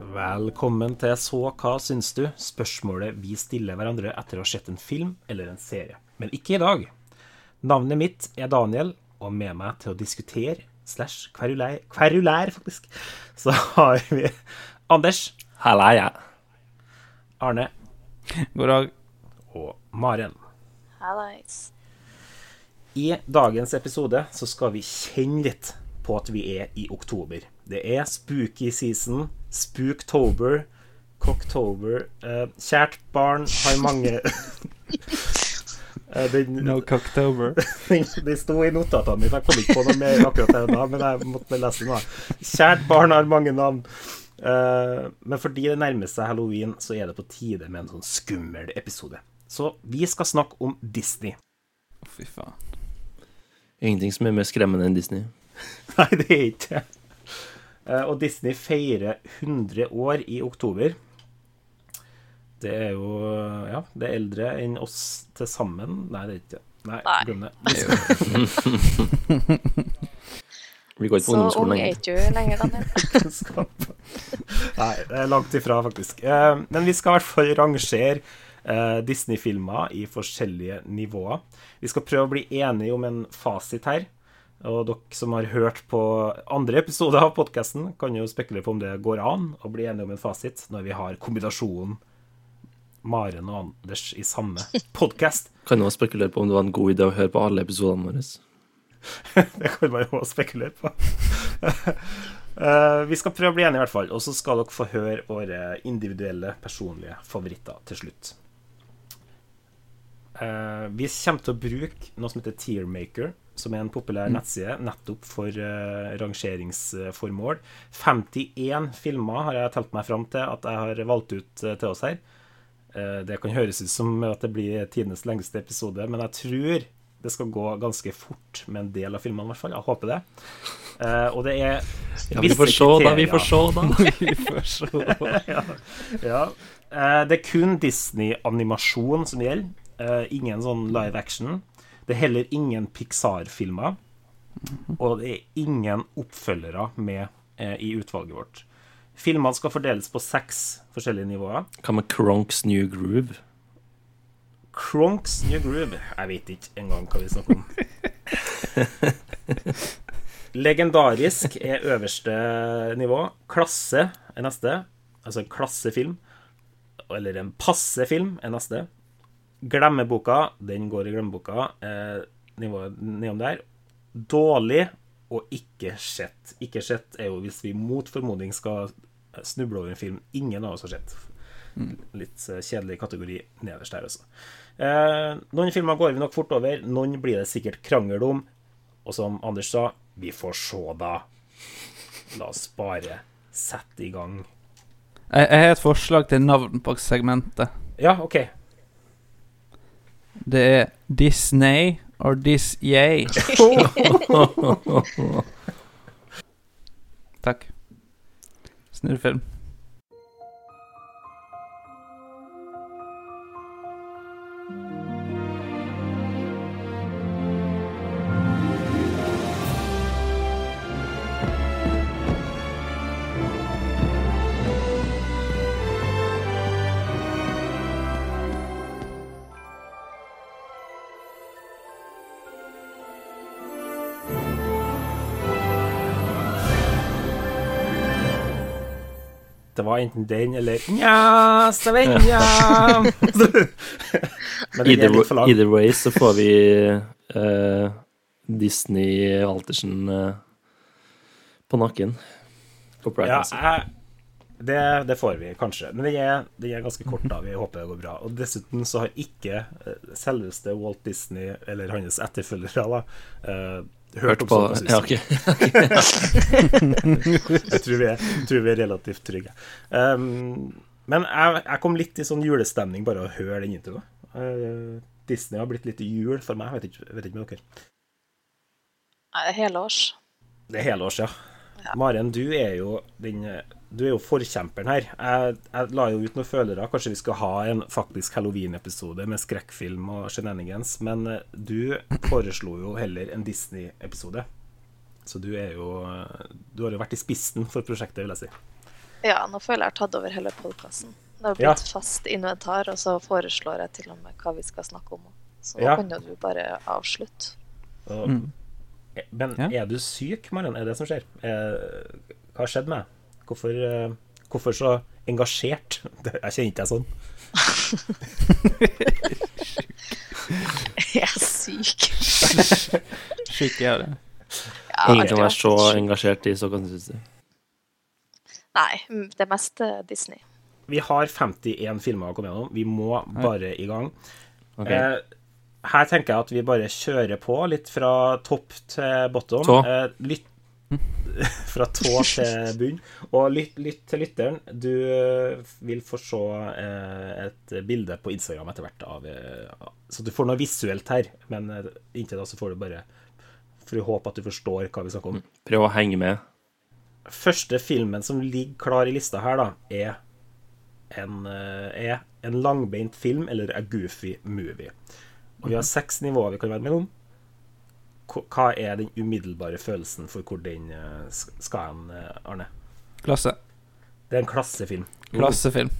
Velkommen til Så hva syns du? Spørsmålet vi stiller hverandre etter å ha sett en film eller en serie. Men ikke i dag. Navnet mitt er Daniel, og med meg til å diskutere slash kverulær, kverulær faktisk, så har vi Anders, Halla, ja. Arne God dag. og Maren. Hallais. I dagens episode så skal vi kjenne litt på at vi er i oktober. Det er spooky season, spooktober, cocktober eh, Kjært barn har mange Eh, den, No cocktober. den, den sto i notatene mine, jeg kom ikke på noe mer akkurat her da, men jeg måtte lese den. da. Kjært barn har mange navn. Eh, men fordi det nærmer seg halloween, så er det på tide med en sånn skummel episode. Så vi skal snakke om Disney. Å, Fy faen. Ingenting som er mer skremmende enn Disney. Nei, det er ikke det. Eh, Og Disney feirer 100 år i oktober. Det er jo Ja, det er eldre enn oss til sammen. Nei, det er ikke det. Nei, Nei. glem det. Vi går ikke Så på ung ungdomsskolen er lenger. ikke du lenger, Daniel. Kunnskap. Nei, det er langt ifra, faktisk. Eh, Men vi skal i hvert fall rangere eh, Disney-filmer i forskjellige nivåer. Vi skal prøve å bli enige om en fasit her. Og dere som har hørt på andre episoder av podkasten, kan jo spekulere på om det går an å bli enige om en fasit når vi har kombinasjonen Maren og Anders i samme podkast. Kan jo også spekulere på om det var en god idé å høre på alle episodene våre. Det kan man jo også spekulere på. Eh, vi skal prøve å bli enige, i hvert fall. Og så skal dere få høre våre individuelle, personlige favoritter til slutt. Eh, vi kommer til å bruke noe som heter Tearmaker, som er en populær nettside nettopp for eh, rangeringsformål. 51 filmer har jeg telt meg fram til at jeg har valgt ut eh, til oss her. Eh, Det kan høres ut som at det blir tidenes lengste episode, men jeg tror det skal gå ganske fort med en del av filmene, i hvert fall. Jeg håper det. Eh, og det er Ja, vi får se, da. Vi får se, da. Vi får se. Ja. Eh, det er kun Disney-animasjon som gjelder. Eh, ingen sånn live action. Det er heller ingen Pixar-filmer. Og det er ingen oppfølgere med eh, i utvalget vårt. Filmene skal fordeles på seks forskjellige nivåer. Hva med Cronks New Groove? Cronks New Groove Jeg vet ikke engang hva vi snakker om. Legendarisk er øverste nivå. Klasse er neste. Altså en klassefilm. Eller en passe film er neste. Glemmeboka, den går i glemmeboka. Eh, nivået nedom der. Dårlig og ikke sett. Ikke sett er jo hvis vi mot formodning skal snuble over en film ingen av oss har sett. Litt eh, kjedelig kategori nederst der, altså. Eh, noen filmer går vi nok fort over, noen blir det sikkert krangel om. Og som Anders sa, vi får se, da. La oss bare sette i gang. Jeg, jeg har et forslag til navn på segmentet. Ja, OK. Det er Disney or Dis-Yay. Takk. Snurrefilm. Det var enten den eller Nja, Svenja! Men den er Either, litt for lang. either way så får vi eh, Disney Altersen eh, på nakken. Copyright, Ja, altså. jeg, det, det får vi kanskje. Men den er, den er ganske kort, da. Vi håper det går bra. Og dessuten så har ikke eh, selveste Walt Disney eller hans etterfølgere da, eh, hørt Hørt om på såpass Ja, hus. ok. Jeg tror vi er, tror vi er relativt trygge. Um, men jeg, jeg kom litt i sånn julestemning bare av å høre den introen. Eh, Disney har blitt litt jul for meg, jeg vet ikke, jeg vet ikke med dere. Nei, det er helårs. Det er helårs, ja. Maren, du er jo den Du er jo forkjemperen her. Jeg, jeg la jo ut noen følere. Kanskje vi skal ha en faktisk halloween-episode med skrekkfilm og shenanigans. Men eh, du foreslo jo heller en eh, Disney-episode. Så du er jo Du har jo vært i spissen for prosjektet, vil jeg si. Ja, nå føler jeg jeg har tatt over hele podkasten. Det har blitt Ja. fast inventar, og så foreslår jeg til og med hva vi skal snakke om. Så nå Ja. kan jo du bare avslutte. Og, eh, Men er du syk, Marion? Er det det som skjer? Eh, hva har skjedd med deg? Hvorfor, eh, hvorfor så engasjert? Det- Jeg kjenner ikke deg sånn. Jeg er syk. Sjuk er jeg det. Ja, Ingen alltid kan være vært så syk. engasjert i sånn Stockholmshuset. Nei, mm, det meste er Disney. Vi har 51 filmer å komme gjennom. Vi må bare i gang. Ok. Eh, her tenker jeg at vi bare kjører på litt fra topp til bottom. Tå. Eh, lytt fra tå til bunn. Og lytt, lytt til lytteren. Du eh, vil få se eh, et bilde på Instagram etter hvert, av, eh, så du får noe visuelt her. Men eh, inntil da så får du bare For å håpe at du forstår hva vi snakker om. Prøv å henge med. Første filmen som ligger klar i lista her, da, er en, eh, er en langbeint film eller a goofy movie. Og vi har seks nivåer vi kan være mellom. Hva- Hva er den umiddelbare følelsen for hvor den eh, s- skal hen, eh, Arne? Klasse. Det er en klassefilm. Oh. Klassefilm.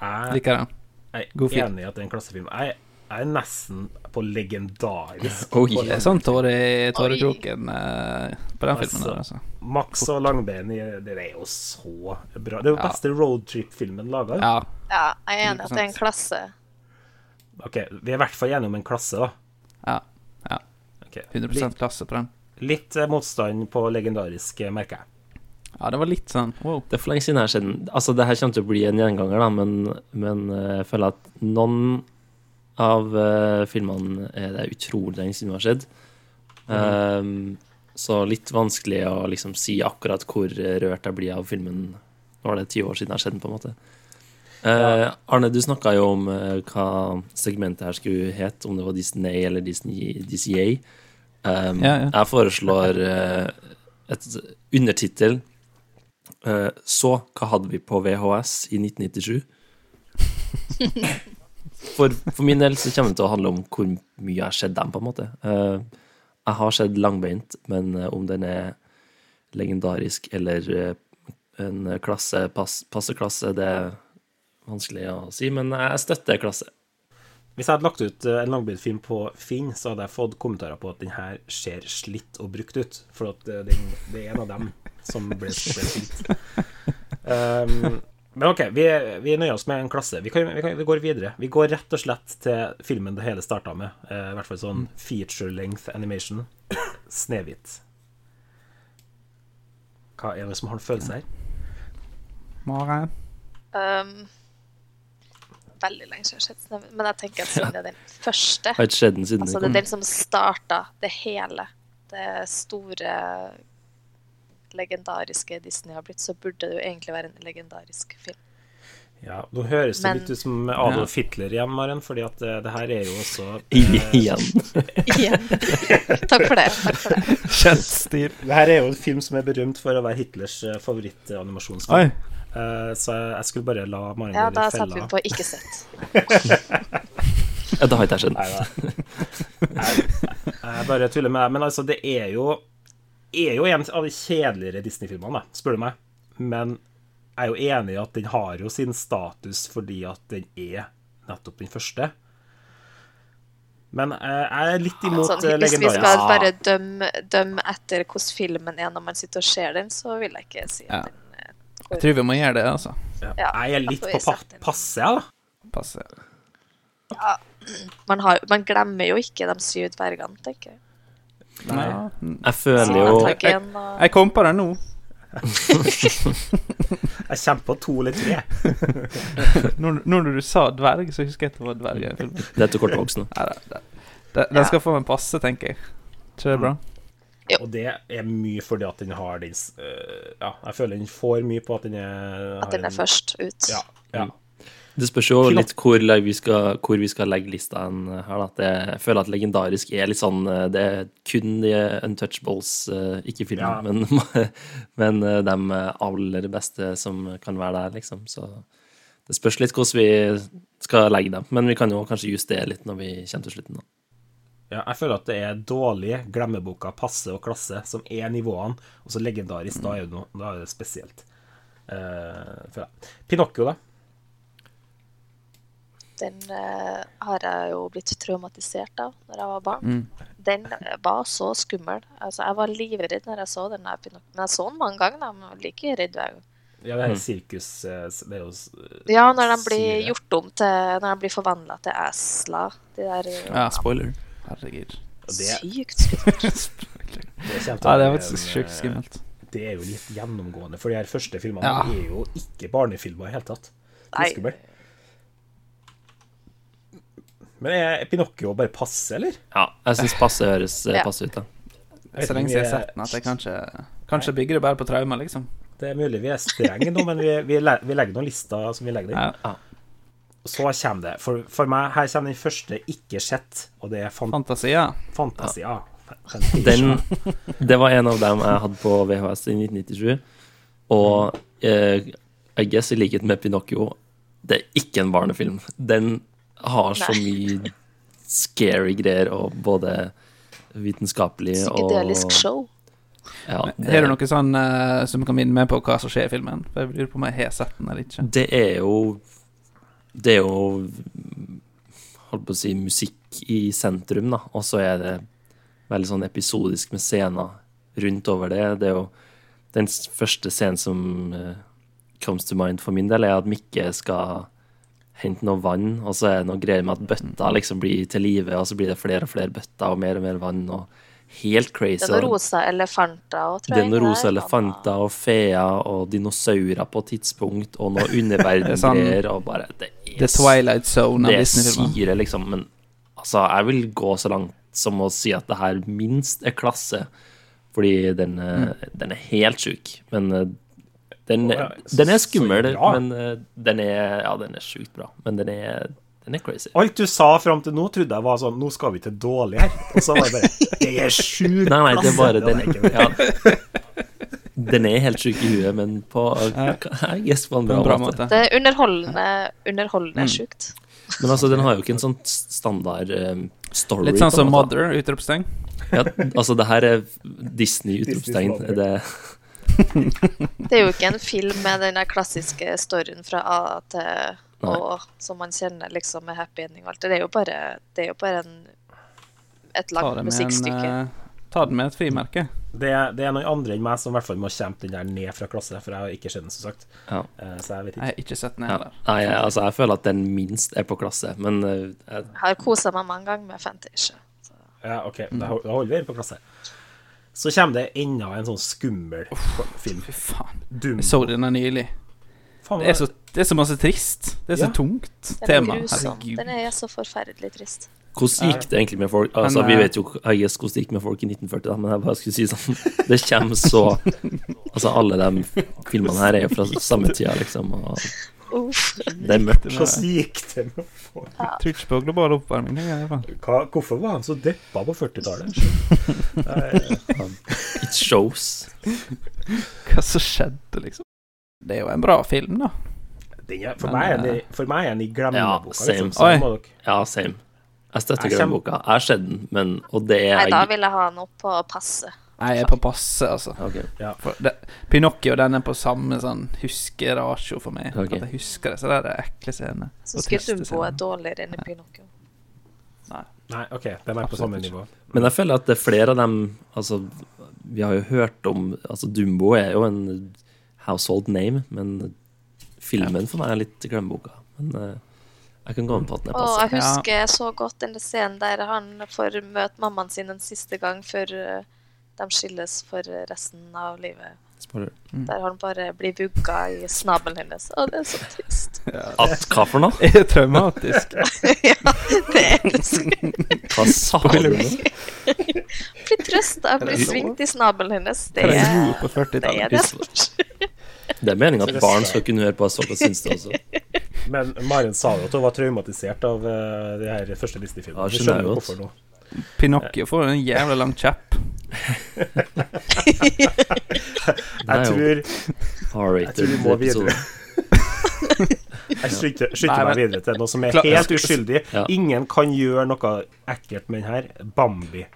Jeg Liker den. jeg God er film. enig i at det er en klassefilm. Jeg, jeg er nesten på legendarisk. Oi. på Det er lang- sånn tåre- tårekroken eh, på den filmen der, altså. Max og Langbein i Det er jo så bra. Det er jo Ja. beste roadtrip-filmen laga. Ja. Ja, jeg er enig i at det er en 100%. klasse. Ok, vi er i hvert fall gjennom en klasse, da. Ja. ja. Ok, 100 klasse på den. Litt, litt eh, motstand på legendarisk, eh, merker jeg. Ja, det var litt sånn wow. Det er for lenge siden her siden. Altså, det her kommer til å bli en gjenganger, da, men, men eh, jeg føler at noen av eh, filmene er det utrolig lenge siden har skjedd. Mhm. Ehm, så litt vanskelig å liksom si akkurat hvor rørt jeg blir av filmen når det er 20 år siden jeg har sett den, på en måte. Eh, Arne, du snakka jo om eh, hva segmentet her skulle het, om det var Disney eller Disney, DCA. Ehm, Ja, ja. Jeg foreslår eh, et undertittel Eh, Så hva hadde vi på VHS i 1997? For, for min del så kommer det til å handle om hvor mye jeg har sett dem, på en måte. Eh, jeg har sett langbeint, men eh, om den er legendarisk eller eh, en klasse, pass, passe klasse, det er vanskelig å si, men jeg støtter klasse. Hvis jeg hadde lagt ut eh, en langbilfilm på Finn, så hadde jeg fått kommentarer på at den her ser slitt og brukt ut. For at eh, den, det er en av dem som ble, ble slitt. Um, men OK, vi, vi nøyer oss med en klasse. Vi, kan, vi, kan, vi går videre. Vi går rett og slett til filmen det hele starta med. eh, I hvert fall sånn feature length animation. Snehvit. Hva er det som har en følelse her? Mare. Um, veldig lenge siden jeg har sett Snøhvit, men jeg tenker at siden det er den første Har ikke sett den siden Altså, det den er kom. den som starta det hele. Det store, legendariske Disney har blitt, så burde det jo egentlig være en legendarisk film. Ja, Nå høres det Men- litt ut som Adolf Hitler igjen, Maren, fordi at eh, det her er jo også Igjen. Igjen. Takk for det. Takk for det. Kjent stil. Det her er jo en film som er berømt for å være Hitlers eh, favorittanimasjonsfilm. Oi. Eh, Så jeg jeg skulle bare la Maren Ja, gå da i satte vi fella. på 'ikke sett'. Ja, det har ikke jeg sett. Nei da. Jeg- Jeg bare tuller med deg. Men altså, det er jo er jo en av de kjedeligere Disney-filmene, da, spør du meg. Men jeg er jo enig i at den har jo sin status fordi at den er nettopp den første. Men eh, jeg er litt imot Sånn, eh, hvis vi legendarisk. skal bare dømme, dømme etter hvordan filmen er når man sitter og ser den, så vil jeg ikke si Ja. at den eh, Jeg tror vi må gjøre det, altså. Ja, Ja, jeg er da litt får på vi pa sette den. passe, jeg, da. Passe. man, har, man glemmer jo ikke de syv dvergene, tenker jeg. Nei. Ja. Jeg føler jo Snøtaggen og Jeg kom på den nå. Jeg kommer på to eller tre. Når, når du sa dverg, så husker jeg at det var dverg i den filmen. Det er til kortvoksen. Nei, det- det- det- Den skal få en passe, tenker jeg. Ikke det bra? Og det er mye fordi at den har den s- øh, Ja, jeg føler den får mye på at den er har at den er en- først ut. Ja. ja. Det spørs jo Flott. litt hvor, lag- vi skal, hvor vi skal legge lista hen her. Da. At jeg- jeg føler at legendarisk er litt sånn eh, Det er kun de untouchables, eh, ikke filmen, Ja. men, men eh, de aller beste som kan være der, liksom. Så det spørs litt hvordan vi skal legge dem. Men vi kan jo kanskje justere litt når vi kommer til slutten. Da. ja. Jeg føler at det er dårlig, glemmeboka, passe og klasse som er nivåene, og så legendarisk, da er det noe da er det spesielt. Eh, for, ja. Pinocchio, da? Den eh, har jeg jo blitt traumatisert av når jeg var barn. Mm. Den var så skummel. Altså, jeg var livredd når jeg så den. der Pinocchio. Men jeg så den mange ganger, da. Men jeg var like redd hver gang. Ja, Mm. det er sirkus eh, Det er jo s- Ja, når de blir Sier det. gjort om til Når de blir forvandla til esler. De der eh, Ja, spoiler. Herregud. og det, Sykt skummelt. Spoiler. det kommer til Ja, å det er bli faktisk en, eh, sjukt skummelt. Det er jo litt gjennomgående, for de her første filmene Ja. er jo ikke barnefilmer i det hele tatt. Det er Nei. skummelt. Men er Pinocchio bare passe, eller? Ja, jeg syns passe høres eh, Ja. passe ut, da. Jeg vet Så ikke om lenge siden jeg har vi er- sett den at jeg kanskje, kanskje bygger det bare på traumer, liksom. Det er mulig vi er strenge nå, men vi, vi, le- vi legger noen lister som vi legger det inn. Ja. Så kommer det. For, for meg, her kommer den første ikke sett, og det er fan Fantasia. Fantasia. Den, det var en av dem jeg hadde på VHS i 1997. Og eh, I guess i likhet med Pinocchio, det er ikke en barnefilm. Den har så mye scary greier og både vitenskapelig og Psykedelisk show. Ja, Har du det, noe sånn eh, som kan minne meg på hva som skjer i filmen? For Jeg lurer på om jeg har sett den eller ikke. det er jo Det er jo Holdt på å si musikk i sentrum, da. Og så er det veldig sånn episodisk med scener rundt over det. Det er jo den s- første scenen som eh, comes to mind for min del, er at Mikke skal hente noe vann, og så er det noe greier med at bøtta liksom blir til live, og så blir det flere og flere bøtter og mer og mer vann, og helt Det crazy. er noen og- rosa elefanter òg, tror det er jeg. noen rosa Der, elefanter og feer og dinosaurer på et tidspunkt, og noen underverdengreier, og bare Det er, The Twilight Zone det av er Disney-filmer. syre, liksom. Men altså, jeg vil gå så langt som å si at det her minst er klasse, fordi den, eh, den er helt sjuk. Men eh, den, Å, ja, så- den er så skummel, bra. men eh, den er Ja, den er sjukt bra, men den er, den er crazy. Alt du sa fram til nå, trodde jeg var sånn Nå skal vi til dårlig her. Og så var det bare Det er sjukt Nei, nei, det er bare den ikke det. ja. Den er helt sjuk i huet, men på Jeg gjetter på en På bra, en bra måte. måte. Det er underholdende, underholdende Mm. sjukt. Men altså, den har jo ikke en sånn standard eh, story. Litt sånn på en som måte. Mother, utropstegn. Ja, altså, det her er Disney-utropstegn. Disney's Mother. Det, Det er jo ikke en film med den der klassiske storyen fra A til Å, som man kjenner liksom med happy ending og alt. Det er jo bare, det er jo bare en, et Ta langt det med, en, musikkstykke. eh, ta det med et frimerke. Det er, det er noen andre enn meg som i hvert fall må kjempe den der ned fra klasse, for jeg har ikke sett den, som sagt. ja. Eh, Så jeg vet Jeg ikke. har ikke sett den Ja. heller. Nei, jeg, altså, jeg føler at den minst er på klasse, men eh, jeg, Jeg har kosa meg mange ganger med Fantasia. Så Ja, OK, da hol- da holder vi den på klasse. Så kommer det enda en sånn skummel film. Fy faen. Dum. Jeg så den her nylig. Faen, Det er så, det er så masse trist. Det er så Ja. tungt Den tema. er grusom. Den Herregud. er så forferdelig trist. hvordan gikk det egentlig med folk Altså, Men, Vi eh, vet jo jeg gjetter hvordan det gikk med folk i 1940, da, men jeg bare skulle si sånn Det kommer så Altså, alle de filmene her er jo fra samme tida, liksom, og Uff. det er mørkt. Hvordan gikk det med folk? Tror ikke på global oppvarming. det er det, faen. Hva, hvorfor var han så deppa på 40-tallet? Nei, It shows. Hva som skjedde, liksom? Det er jo en bra film, da. den er- For meg er den i- for meg er den i glemmeboka. Ja, same, liksom. Så same. må dere Ja, same. Jeg støtter Jeg kjem- Grønnboka. Jeg har sett den, men Og det er Nei, da vil jeg ha den opp på passet. Nei, Jeg er på passe, altså. Ok. For det, Pinocchio den er på samme sånn huskeratio for meg. Ok. At jeg husker det, så det er det ekle scenene. Så og skulle triste Dumbo scener. er dårligere enn i Pinocchio. Nei, OK, de er på Absolutt samme ikke. nivå. Men jeg føler at det er flere av dem Altså, vi har jo hørt om Altså, Dumbo er jo en household name, men filmen for meg er litt glemmeboka. Men eh, jeg kan gå med på at den er Og passe. jeg husker så godt den scenen der han får møte mammaen sin en siste gang før eh, de skilles for resten av livet. Spoiler. Der han bare blir vugga i snabelen hennes. Å, det er så trist. At hva for noe? Er det traumatisk? ja, det er det som Hva sa du? Spoiler. nå? blir trøsta. Blir svingt i snabelen hennes. Det Hva er det er gjorde på det, er 40-tallet? det som skjer. Det er meningen at barn skal kunne høre på oss, og syns det også. Men Maren sa jo at hun var traumatisert av eh, de her første Disney-filmene. Ja, Vi skjønner jeg skjønner jo godt. hvorfor nå. Pinocchio får en jævla lang kjepp. Jeg Det er tror jo R-rated jeg tror vi må videre. episode. Jeg skynder Nei, skynder meg men- videre til noe som er Klar- helt uskyldig. Ja. Ingen kan gjøre noe ekkelt med den her. Bambi.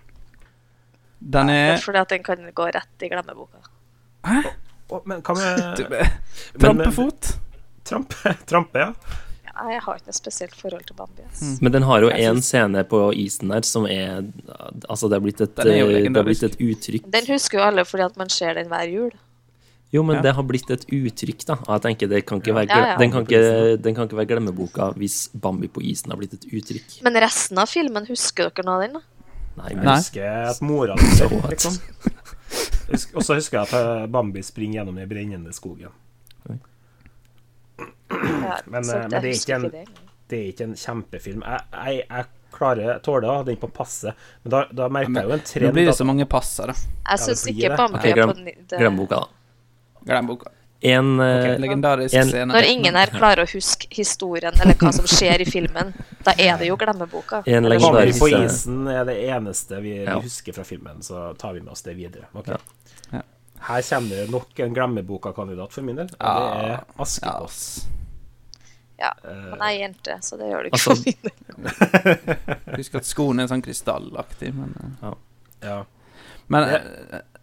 Den Det er er fordi at den kan gå rett i glemmeboka. Å, Eh, men hva med eh, Trampefot. trampe? Trampe, ja. Nei, Jeg har ikke noe spesielt forhold til Bambi. ass. Men den har jo Jeg én syns- scene på isen der som er Altså, det har blitt et, Den er jo eh, det har blitt legendarisk. et uttrykk. Den husker jo alle fordi at man ser den hver jul. Jo, men Ja. det har blitt et uttrykk, da. Og jeg tenker det kan ikke være, Ja, ja. Den, kan ikke, den kan ikke være glemmeboka hvis Bambi på isen har blitt et uttrykk. Men resten av filmen, husker dere noe av den? da? Nei, Jeg men Nei. husker at mora mi så what? liksom. Husk- Og så husker jeg at eh, Bambi springer gjennom den brennende skogen. Ja, Men, så eh, men det er jeg husker ikke en- det. Det er ikke en kjempefilm. Jeg, jeg, jeg klarer, tåler å ha den på passe, men da, da merker jeg jo en Nå trend blir det at så mange passere. Jeg det syns blir ikke det. Bambi Ok, er glem- på den det- glemmeboka, da. Glem boka. En, eh, Legendarisk En- scene. Når ingen her klarer å huske historien eller hva som skjer i filmen, da er det jo glemmeboka. En Eller legende- sånn. Bambi på legendarisk- isen er det eneste vi Ja. husker fra filmen, så tar vi med oss det videre. Ok. Ja. Ja. Her kommer det nok en glemmeboka-kandidat for min del, og det Ah. Ja. er Askepott. ass. Ja, men jeg er jente, så det gjør du ikke. for Altså- min del. Husk at skoen er sånn krystallaktig, men eh, Ja. Men eh,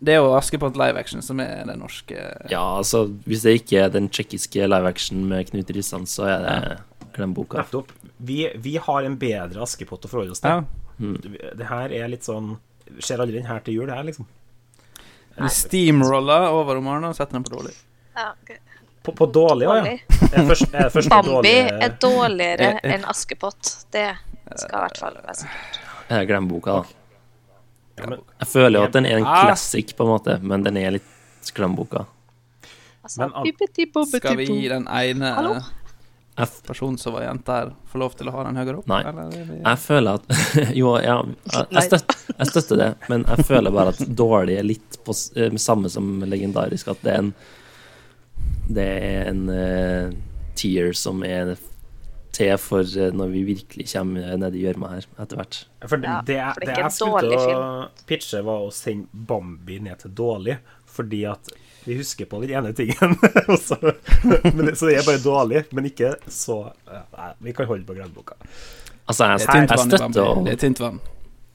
det er jo Askepott live action som er det norske Ja, altså, hvis det ikke er den tsjekkiske live action med Knut Rissan, så er det glemmeboka. Nettopp. Vi, vi har en bedre Askepott å forholde oss Ja, til. Det her er litt sånn Skjer aldri den her til jul, det her, liksom. Vi steamroller over romanen og setter den på dårlig. Ja, ok. På, på dårlig, ja. ja. Dårlig. Er det først- er eh, det første Bambi dårlige- er dårligere enn Askepott. Det skal i hvert fall være sånn. Det er glemmeboka, da. Ja, men, Jeg føler jo at den er en Ah. classic, på en måte, men den er litt glemmeboka. Altså, Men an- bibbidi-bobbidi-bo. Skal vi gi den ene Hallo? Jeg, f- personen som var jente her, få lov til å ha den høyere opp? Nei. Eller er vi... jeg føler at Jo, ja, jeg, jeg, støt, jeg støtter det, men jeg føler bare at dårlig er litt på s- eh, samme som legendarisk, at det er en Det er en eh, tier som er til for eh, når vi virkelig kommer eh, ned i gjørma her, etter hvert. for det, Ja, det, det, for det er ikke en jeg skulle dårlig til å pitche, var å sende Bambi ned til dårlig, fordi at vi husker på den ene tingen. og så- men det, så det er bare dårlig, men ikke så ja, Nei, vi kan holde på glemmeboka. Altså, Det er jeg, jeg, tynt vann i støtter Bambi. å Det er tynt vann.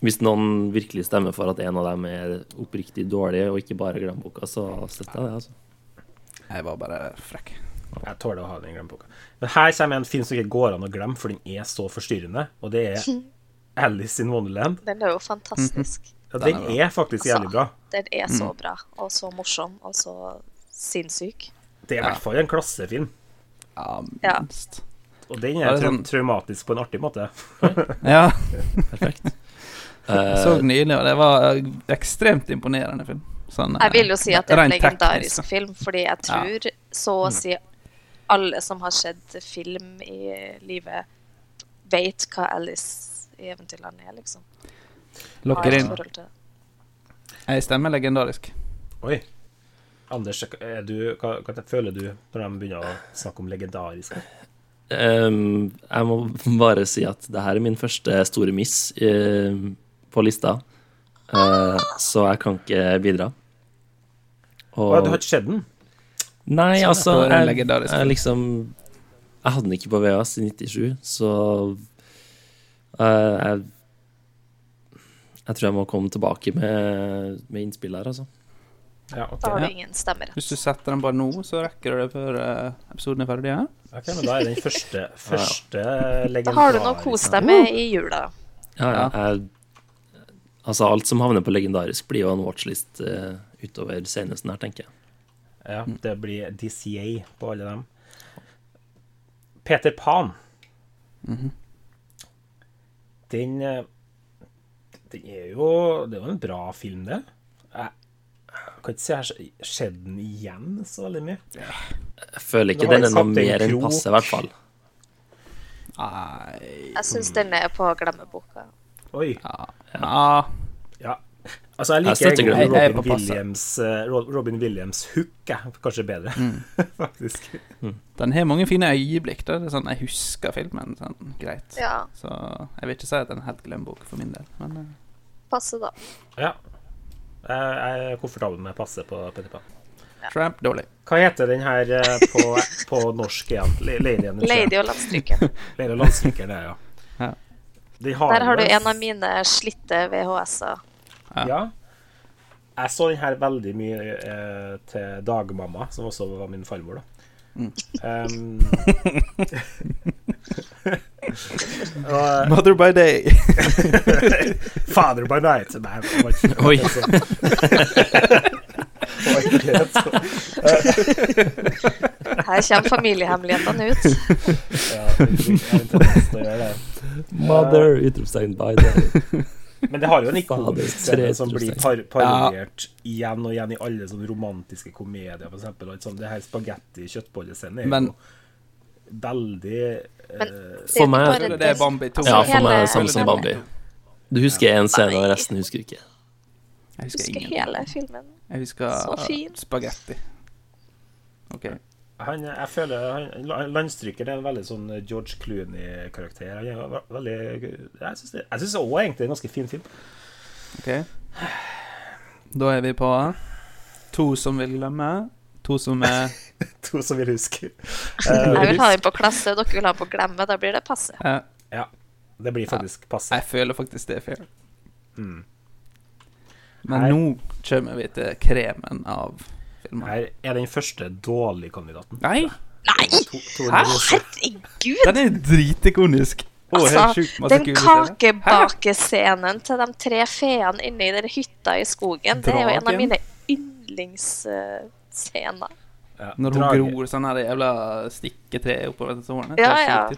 Hvis noen virkelig stemmer for at en av dem er oppriktig dårlig, og ikke bare glemmeboka, så støtter jeg det. altså. Jeg var bare frekk. Jeg tåler å ha den i glemmeboka. Men her kommer en film som ikke går an å glemme, for den er så forstyrrende, og det er Alice in Wonderland. Den er jo fantastisk. Altså, Ja, den er faktisk jævlig bra. Den er så bra, og så morsom, og så sinnssyk. Det er i hvert fall en klassefilm, Ja, Ja. minst. og den Ja, er det er trau- traumatisk på en artig måte. Ja, jeg så Eh, den nylig, og det var eh, ekstremt imponerende film. Sånn, eh, Jeg vil jo si at det er en rent legendarisk teknisk. altså. film, fordi jeg tror så å si alle som har sett film i livet, vet hva Alice i Eventyrland er, liksom. Har Lokker et inn. forhold til det. Jeg stemmer legendarisk. Oi. Anders, er du, hva, hva føler du når de begynner å snakke om legendarisk? ehm, jeg må bare si at det her er min første store miss ehm, på lista, Eh, så jeg kan ikke bidra. Og- Å, du har ikke sett den? Nei, altså det var en jeg, legendarisk jeg film. liksom Jeg hadde den ikke på VHS i 97, så eh, jeg, jeg tror jeg må komme tilbake med, med innspill her, altså. Ja, ok. Da har Ja. du ingen stemmerett. Hvis du setter den bare nå, så rekker du det før eh, episoden er ferdig. Ja? ok. Men da er den første, første Da legendariske har du noe å kose deg med i jula. Ja, ja. Jeg, altså, alt som havner på legendarisk, blir jo en watchlist eh, utover senhesten her, tenker jeg. Ja, det blir DCA på alle dem. Peter Pan. Den eh, Den er jo Det er jo en bra film, det. Jeg kan ikke si jeg har sett den igjen så veldig mye. Jeg føler Det ikke var den er noe Kaptein mer enn Krok. passe, i hvert fall. Nei Mm. Jeg syns den er på glemmeboka. Oi. ja. Ja. Altså, jeg Jeg liker støtter egentlig Glenn. Jeg- jeg er Robin på passet. Williams, eh, Ro- Robin Williams hook, jeg. Kanskje bedre, faktisk. Den har mange fine øyeblikk. Da. Det er sånn, jeg husker filmen sånn, greit. Ja, Så jeg vil ikke si at den er helt glemmebok for min del. Men eh, passe da. Ja. Jeg jeg er komfortabel med passe på Peter Pan. Tramp dårlig. Hva heter den her eh, på, på norsk igjen? Le- Lady and the Tramp. Lady og landstryken. Lady og landstryker, det, er, ja. Ja. De Der har du vel- en av mine slitte VHS-er. Ja. Jeg så den her veldig mye eh, til dagmamma, som også var min farmor, da. Um, og, Mother by day. Father by night Nei, det var ikke Oi. altså. Det var ikke det, altså. Her kommer familiehemmelighetene ut. Ja, jeg har en tendens til å gjøre det. Mother! Utropstegn by day. Men det har jo en Fader, ikonisk scene som 3%. blir par parodiert igjen og igjen i alle sånne romantiske komedier, for eksempel. og Sånn, det her spagetti-kjøttbollescenen er Men- jo veldig Men eh, det er jo ikke meg- bare Eller det er Bambi 2. Ja, Altså, for meg er hele- det samme som Bambi. Du husker én scene, og resten husker du ikke. Jeg Jeg husker husker ingen. hele filmen. Jeg husker Så uh, fin. spagetti. OK. han, Jeg føler han, Landstryker er en veldig sånn George Clooney-karakter. Han er ve- veldig Jeg syns det- jeg syns også egentlig det er en ganske fin film. ok Da er vi på to som vil glemme, to som er To som vil huske. Jeg Eh, vil ha den på klasse, dere vil ha den på glemme. Da blir det passe. eh, ja. Det blir faktisk passe. Jeg føler faktisk det er fair. Mm. Men Nei. nå kommer vi til kremen av filmen. Her er den første dårlige kandidaten. Nei! Nei, To, Tone Rose. herregud! Den er dritikonisk. Og helt Altså, sjukt masse den kule scener. kakebakescenen til de tre feene inni den hytta i skogen, det er jo en av Dragen. mine yndlingsscener. Ja, Når hun drage. gror sånn her jævla stikketre oppover dette håret. Ja, ja.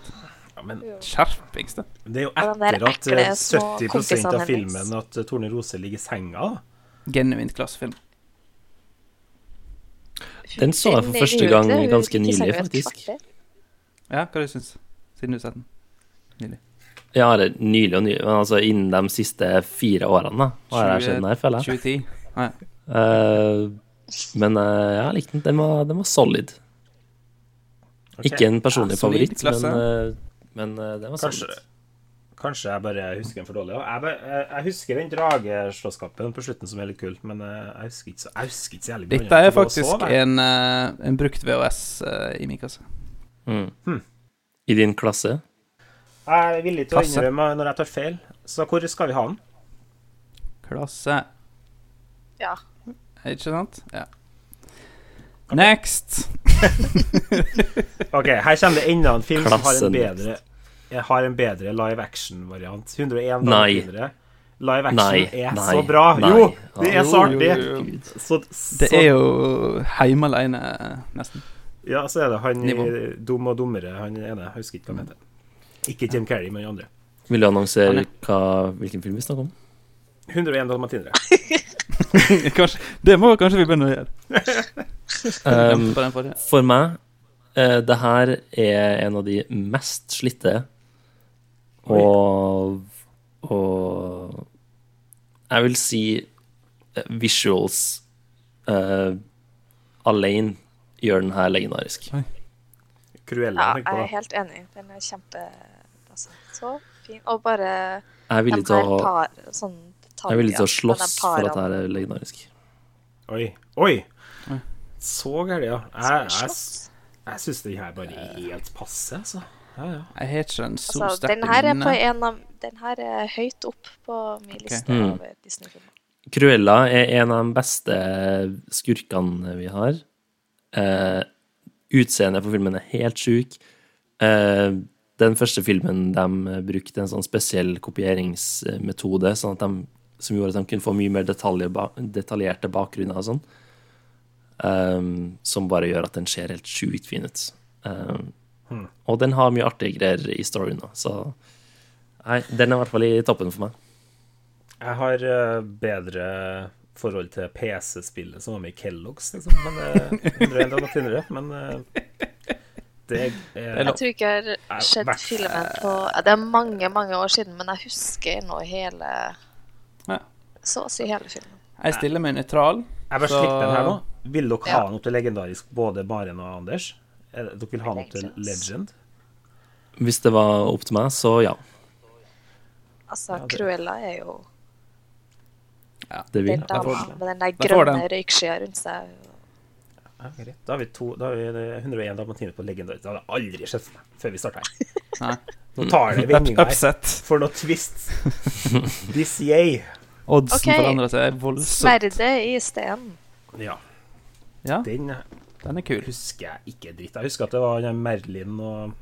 Ja, men Skjerpings, det. Det er jo Ja, den der etter at ekle eh, små 70 av kompisene hennes. filmen at eh, Torne Rose ligger i senga. da. Genuint klassefilm. Den så jeg for første gang ganske nylig, faktisk. Ja, hva du syns Siden du har sett den. Ja, eller nylig og nylig, men altså innen de siste fire årene da, har jeg sett den her, føler jeg. 2010. Eh, men eh, jeg likte den. Den var, den var solid. Ok. Ikke en personlig Ja, solid favoritt, men, klasse. eh, men eh, den var Kanskje, solid. kanskje jeg bare husker den for dårlig. da. Jeg, bare- jeg, jeg husker den drageslåsskampen på slutten som er litt kult, men eh, jeg husker ikke så, jeg husker ikke så jævlig mye. Dette er annet, for da sov faktisk jeg. en, eh, en brukt VHS eh, i min kasse. Mm. Hmm. I din klasse? Jeg er villig til å Klasse. innrømme når jeg tar feil, så hvor skal vi ha den? Klasse, Ja. ikke sant? Ja. Next! Ok, Her kommer det enda en film som har Klassen. en bedre jeg har en bedre live action-variant. 101 Nei. dager mindre. Live action Nei, er nei, så bra. nei. Jo, det Ja. er så artig. Jo, jo, jo. Så, så Det er jo heime aleine, nesten. Ja, så er det han i Nivå. Dum og dummere, han ene. Jeg husker ikke hva han heter. Ikke Jim Carrey, men den andre. Vil du Han annonsere er- hva, hvilken film vi snakker om? 101 dalmatinere. kanskje, det må kanskje vi begynne å gjøre. Um, På den forrige. For meg, eh, det her er en av de mest slitte og Og jeg vil si eh, visuals eh, alene gjør den her legendarisk. Cruella, ja, tenk jeg på er det. helt enig. Den er kjempe altså, Så fin. Og bare Jeg er villig de til her å, par, sånn jeg er villig til å detaljer, slåss de for at det parene. her er legendarisk. Oi. Oi! Oi. Så gærent, ja. Jeg, jeg, Slåss. jeg syns den her bare er helt passe, altså. Ja, ja. Jeg har ikke en så Altså, sterk den her er minne. på en av Den her er høyt opp på min liste Mm. over Disney-filmer. Cruella er en av de beste skurkene vi har. Eh, utseendet på filmen er helt sjuk. Eh, den første filmen de brukte en sånn spesiell kopieringsmetode sånn at de, som gjorde at de kunne få mye mer detaljer, ba- detaljerte bakgrunner og sånn. Eh, som bare gjør at den ser helt sjukt fin ut. Eh, Og den har mye artige greier i storyen, da, så Nei, den er i hvert fall i toppen for meg. Jeg har eh, bedre forhold til PC-spillet som var med i Kellogg's, liksom. Men eh, 101 dalmatinere. Men eh, det er eh, lov. Jeg tror ikke jeg har sett hvert- filmen på ja, Det er mange, mange år siden, men jeg husker nå hele Ja. Så å si hele filmen. Jeg stiller meg nøytral. Jeg bare Så- slipper den her nå. Vil dere Ja. ha den opp til legendarisk, både Maren og Anders? Er det- Dere vil ha den opp til Legends. legend? Hvis det var opp til meg, så ja. Altså, det- Cruella er jo Det vil den jeg. får dama den. med den der Jeg får grønne røykskya rundt seg. Ja, greit. Da har vi, to, da har vi eh, 101 dalmatiner på legendarisk. Det hadde jeg aldri sett for meg før vi starta her. Nei. Nå tar det Up, vendinga her. upset. For noe twist. This yay. Oddsen Ok. forandrer seg voldsomt. Sverdet i steinen. Ja. Ja, Den den er kul. husker jeg ikke dritt. Jeg husker at det var den der Merlin og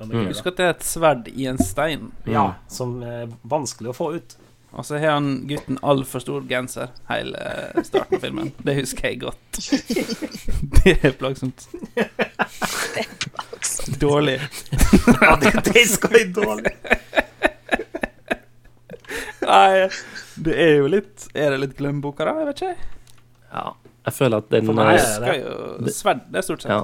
Mm. Anne Husk at det er et sverd i en stein. Ja, som er vanskelig å få ut. Og så har han gutten altfor stor genser hele starten av filmen. Det husker jeg godt. Det er plagsomt. Dårlig. Ja, det, det skal jeg dårlig. Nei, det er jo litt Er det litt glemmeboka, da? Jeg vet ikke. Ja. Jeg føler at den For meg eh, er Skal jo Sverd, det er stort sett. Ja.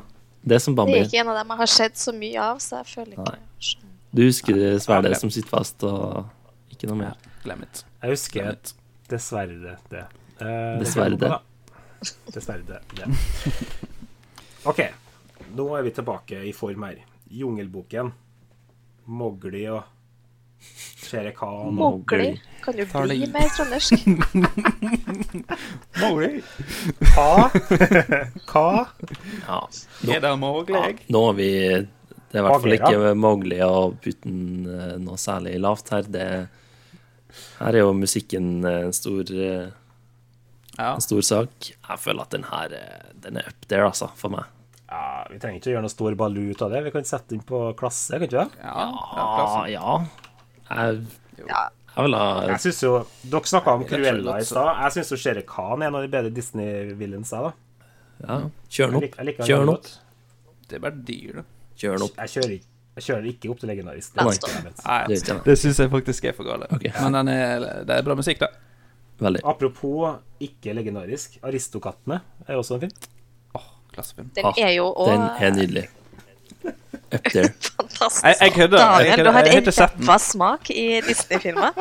Det er som Det Bambi. er ikke en av dem jeg har sett så mye av, så jeg føler ikke Nei. jeg Du husker det sverdet Ja. som sitter fast, og ikke noe mer. Glem it. Jeg husker Glem it. dessverre det. Eh, Dessverre det. Dessverre det. det. OK, nå er vi tilbake i form her. Jungelboken. Mowgli og Shere Khan. Mowgli. Kan du Tar det bli i. mer trøndersk? Mowgli. Hva? Hva? Ja. Er det Mowgli? Nå er vi Det er i hvert fall Bagheera. ikke mulig å putte den eh, noe særlig lavt her. Det, her er jo musikken eh, en stor, eh, Ja. en stor sak. Jeg føler at den her eh, den er up there, altså, for meg. Ja, vi trenger ikke gjøre noe stor balu ut av det. Vi kan sette den på klasse, kan ikke vi? Ja. ja. Ja, klart. ja. Jeg, Ja. jeg vil ha Jeg synes jo, Dere snakka om det er så Cruella godt, i stad. Jeg syns Shere Khan er en av de bedre Disney-villains. jeg, da. ja. Kjør Jeg den lik- jeg liker opp. han Kjør den veldig opp. godt. Det er bare dyr, da. Kjør den opp. Jeg kjører, ikke- jeg kjører ikke opp til legendarisk. Nei. Det er- Det Nei, er ikke det. det syns jeg faktisk er for gale. Ok. Men den er, det er bra musikk, da. Veldig. Apropos ikke legendarisk. Aristokattene er også en film. Åh, klassefilm. Den Ah, er jo Den òg er nydelig. Up there. fantastisk. Jeg- jeg kødder, jeg kødder. Daniel, du har Jeg har ikke sett den. ræva smak i Disney-filmer.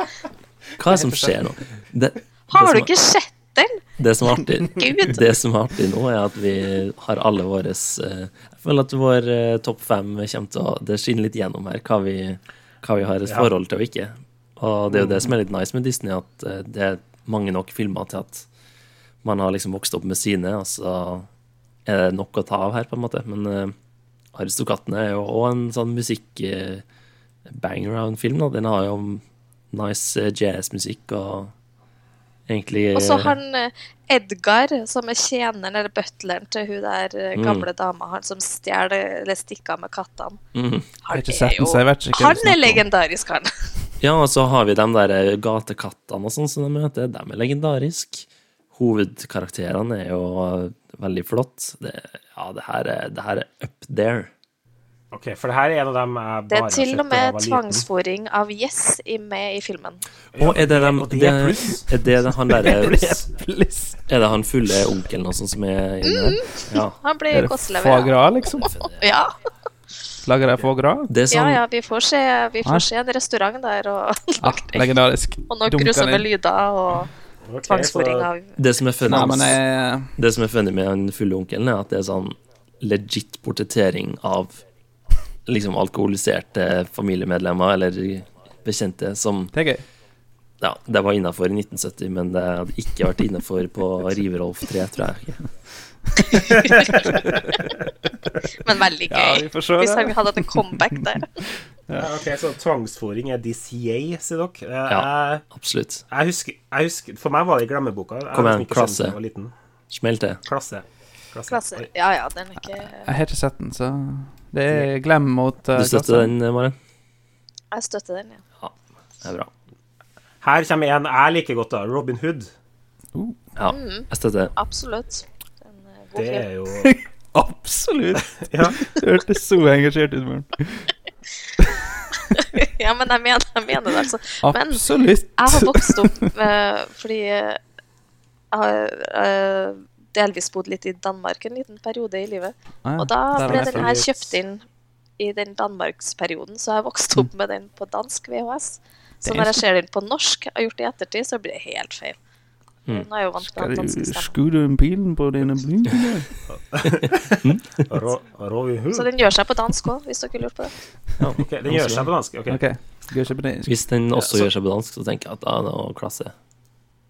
Hva er det som skjer nå? Det, Har du det, ikke sett den? som, det, som er artig, Gud. det som er artig nå, er at vi har alle våre eh, Jeg føler at vår eh, topp fem kommer til å Det skinner litt gjennom her hva vi, hva vi har et Ja. forhold til og ikke. Og det er jo det som er litt nice med Disney, at eh, det er mange nok filmer til at man har liksom vokst opp med sine, og så er det nok å ta av her, på en måte. Men eh, Aristokattene er jo òg en sånn musikk-banger av en film. Da. Den har jo nice eh, jazzmusikk og egentlig Og så eh, han eh, Edgar, som er tjeneren eller butleren til hun der eh, Mm. gamle dama, han som stjal eller stikk av med kattene. mm. har Han ikke er sett den, jo- så jeg vet ikke hva du Han snakker er om. legendarisk, han. Ja, og så har vi de der eh, gatekattene og sånn som de heter. De er legendariske. Hovedkarakterene er jo eh, veldig flott. Det, ja, det her, er, det her er up there. Ok, For det her er en av dem jeg Det bare er har til sett og da jeg med var liten. tvangsfòring av gjess i- med i filmen. Og er det, dem- og det det, er pluss. er det han der Er Please. det han fulle onkelen og sånn som er inne? Ja. Han Er blir det gåselever. foie gras, liksom? Ja. Lager de foie gras? Det er ja, sånn ja, vi får se, vi Hæ? får se en restaurant der, og, Ah, legendarisk. og noen Dunker grusomme ned. lyder, og Ok, så tvangsfòring av Det som er funny, Nei, men eh, jeg, det som er funny med den fulle onkelen, er at det er sånn legit portrettering av liksom alkoholiserte familiemedlemmer eller bekjente som det er gøy. Ja, det var innafor i 1970, men det hadde ikke vært innafor på Riverolf 3, tror jeg. Men veldig Ja, gøy. vi får se Hvis det. han hadde hatt en comeback der. Ja, ok, Så tvangsfòring er DCA, sier dere. Eh, Ja. Jeg, Absolutt. jeg, husker, jeg husker For meg var det i glemmeboka. Jeg Kom har liksom ikke igjen, skjønt klasse. da jeg var liten. Smell til. Klasse. Klasse. Klasse. Oi, Ja, ja, den er ikke Jeg har ikke sett den, så det er glem mot uh, Du støtter den, Maren? Jeg støtter den, ja. Det er bra. Her kommer en jeg liker godt, da. Robin Hood. Ja, jeg støtter det. Absolutt. Den er god Det film. er jo Absolutt! Ja. Du hørtes så engasjert ut, Maren. Ja, men jeg mener, jeg mener det, altså. Men Absolutt! jeg har vokst opp med, fordi eh, jeg har eh, delvis bodd litt i Danmark en liten periode i livet. Ah, ja. Og da Der ble er den den. her kjøpt inn i den danmarksperioden, så jeg vokste opp med den på dansk VHS. Så Mm. Det er når jeg ser den på norsk og har gjort det i ettertid, så blir det helt feil. Nå er jeg jo vant til Mm. Skal den du danske stemmen. skru den pilen på dine blinker? Ro, Robin Hood. Så den gjør seg på dansk òg, hvis dere lurer på det. Ok, den gjør seg på dansk. Ok, OK. Skal jeg kjøpe den? Hvis den også gjør seg på dansk, så tenker jeg at da er det noe klasse.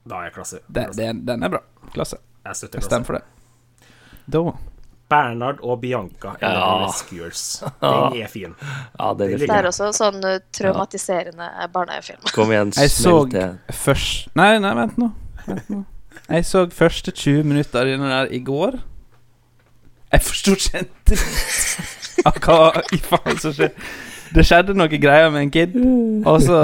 Da er jeg klasse. Den, den, den er bra. Klasse. Jeg støtter Jeg stemmer klasse. for det. Da Bernard og Bianca eller Ja. Rescuers. Den er fin. Ja, den er Det fin. Det er også sånn eh, traumatiserende barnefilm. Kom igjen, Jeg smell så- til. Først Nei, nei, vent nå. Vent nå. Jeg så første 20 minutter av denne der i går. Jeg forsto ikke en dritt av hva i faen som skjedde. Det skjedde noe greier med en kid, og så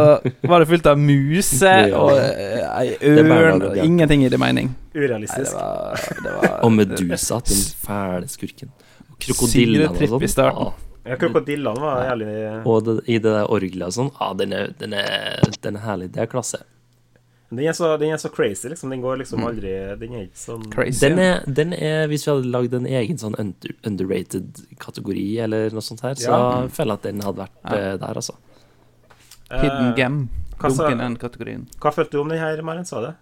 var det fullt av muser og eh, ei er bare ørn noe og galt. Ingenting i det mening. Nei, det Urealistisk. var, det var Og Medusa, den fæle skurken. Sigrid Og Krokodillene Tripp i og sånn. starten. Ja. Ja, Krokodillene var jævlig Og det, i det der orgelet og sånn. Ja, den er, den, er, den er herlig. Det er klasse. den er, så, den er så crazy, liksom. Den går liksom aldri Den er ikke sånn Crazy. Den er, den er, hvis vi hadde lagd en egen sånn under, underrated kategori eller noe sånt her, så Ja. føler jeg at den hadde vært eh, der, altså. Hidden gem. hva sa- Dunken den kategorien. Eh, Hva følte du om den her, Maren? Sa det?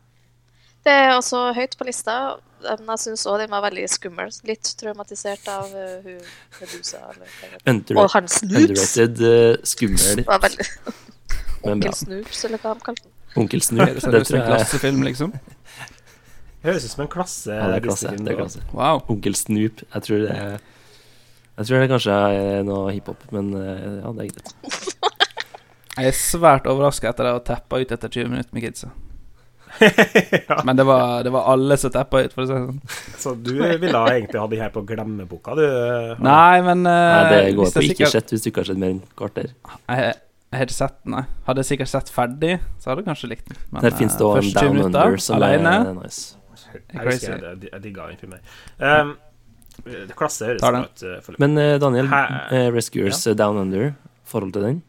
Det er også høyt på lista, men jeg syns òg den var veldig skummel. Litt traumatisert av eh, hun Medusa. Eller, hva det heter. Underra- Og han Snoops. underrated, eh, skummel, Det var veldig men bra. Onkel Snoops, eller hva de kalte den. Onkel Snu. Er det Det seriøst en tror jeg klassefilm, liksom? Høres ut som en klasse. ja, det er klasse. Disney-film, Det er da. klasse. Wow. Onkel Snoop. Jeg tror det er Jeg tror det kanskje er noe hiphop, men eh, ja, det er greit. Jeg er svært overraska etter det å teppe ut etter 20 minutter med kidsa. Men det var, det var alle som teppa ut, for å si det sånn. Så du ville egentlig ha de her på glemmeboka, du? Nei, men eh, Nei, det går hvis på jeg ikke sikkert- sett hvis du ikke har sett mer enn et kvarter. Jeg, jeg hadde sett den, nei. Hadde jeg sikkert sett ferdig, så hadde jeg kanskje likt den. Men, Der finnes det eh, òg en første 20 Down minutter, Under som alene, er nice. Jeg crazy. husker jeg, jeg digga den filmen. Um, det klasse høres Tar bra den. ut. eh, foreløpig. Men eh, Daniel, Hæ? eh, Rescuers eh, Down Under, forhold til den?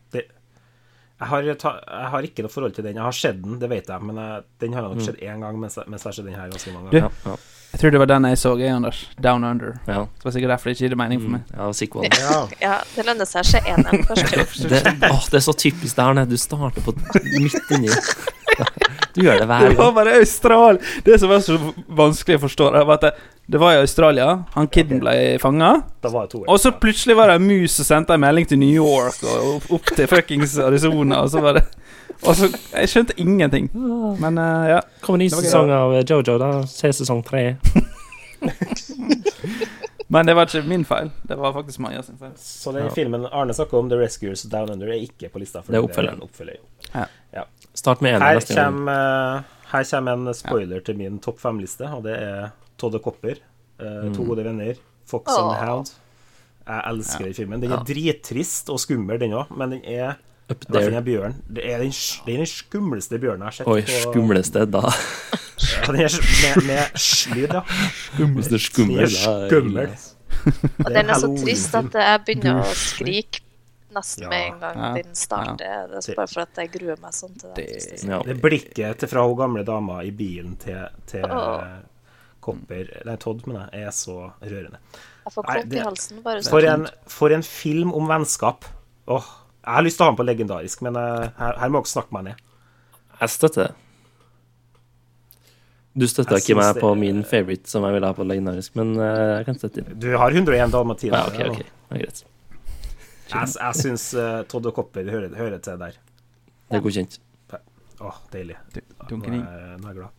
Jeg har, ta, jeg har ikke noe forhold til den. Jeg har sett den, det vet jeg, men jeg, den har jeg nok sett én gang. Mens jeg, mens jeg har sett den her ganske mange Du, ganger. Mm. Ja. ja, Jeg tror det var den jeg så, jeg, Anders. Down Under. ja. Det var sikkert derfor det ikke gir mening for Mm, meg. ja sequel. Ja. Ja, det lønner seg å se eneren først. Det, åh, det er så typisk det her, når du starter på midt inni. Du gjør det hver Det var gang. bare Austral Det som var så vanskelig å forstå, det var at det, det var i Australia. Han kiden ble fanga. Da var det to. Og så plutselig var det en mus som sendte en melding til New York og opp, opp til fuckings Arizona, og så var det Og så Jeg skjønte ingenting. Men eh, ja. Kommer ny Det var gøy. sesong av eh, Jojo, da. Se sesong tre. Men det var ikke min feil. Det var faktisk Maja sin feil. Så den Ja. filmen Arne snakker om, The Rescuers Down Under, er ikke på lista. For Det er en oppfølgeren. oppfølger. Start med Her eneren neste gang. kommer, eh, her kommer en spoiler til min topp fem-liste, og det er Todde Copper, eh, Mm. To gode venner, Fox and the Åh. Hound. Jeg elsker den filmen. Den er drittrist og skummel, den òg, men den er Up Der finner there. jeg bjørn. Det er den, s- det er den skumleste bjørnen jeg har sett. Oi, på- skumleste da. Ja, den er s- med med s-lyd, ja. Skumleste Den er skummel. da. skummel. Og den er så trist at jeg begynner å Halloween-film. skrike nesten Ja. med en gang Ja. den starter. Det er bare for at jeg gruer meg sånn til den. Det- Ja. Det blikket til fra hun gamle dama i bilen til, til Åh. eh, Copper Nei, Todd, mener jeg, er så rørende. Jeg får Nei, klump det- i halsen bare sånn. For en, for en film om vennskap. Åh, Jeg har lyst til å ha den på legendarisk, men eh, her, her må dere snakke meg ned. Jeg støtter det. Du støtta Jeg ikke meg syns det- på min favorite, som jeg ville ha på legendarisk, men eh, jeg kan støtte din. Du har 101 dalmatiner. Ja, ok, ok. Det er greit. Jeg, jeg syns eh, Todd og Copper hører, hører til der. Det er godkjent. Åh, deilig. Nå Dunken er, inn. jeg- nå er jeg glad.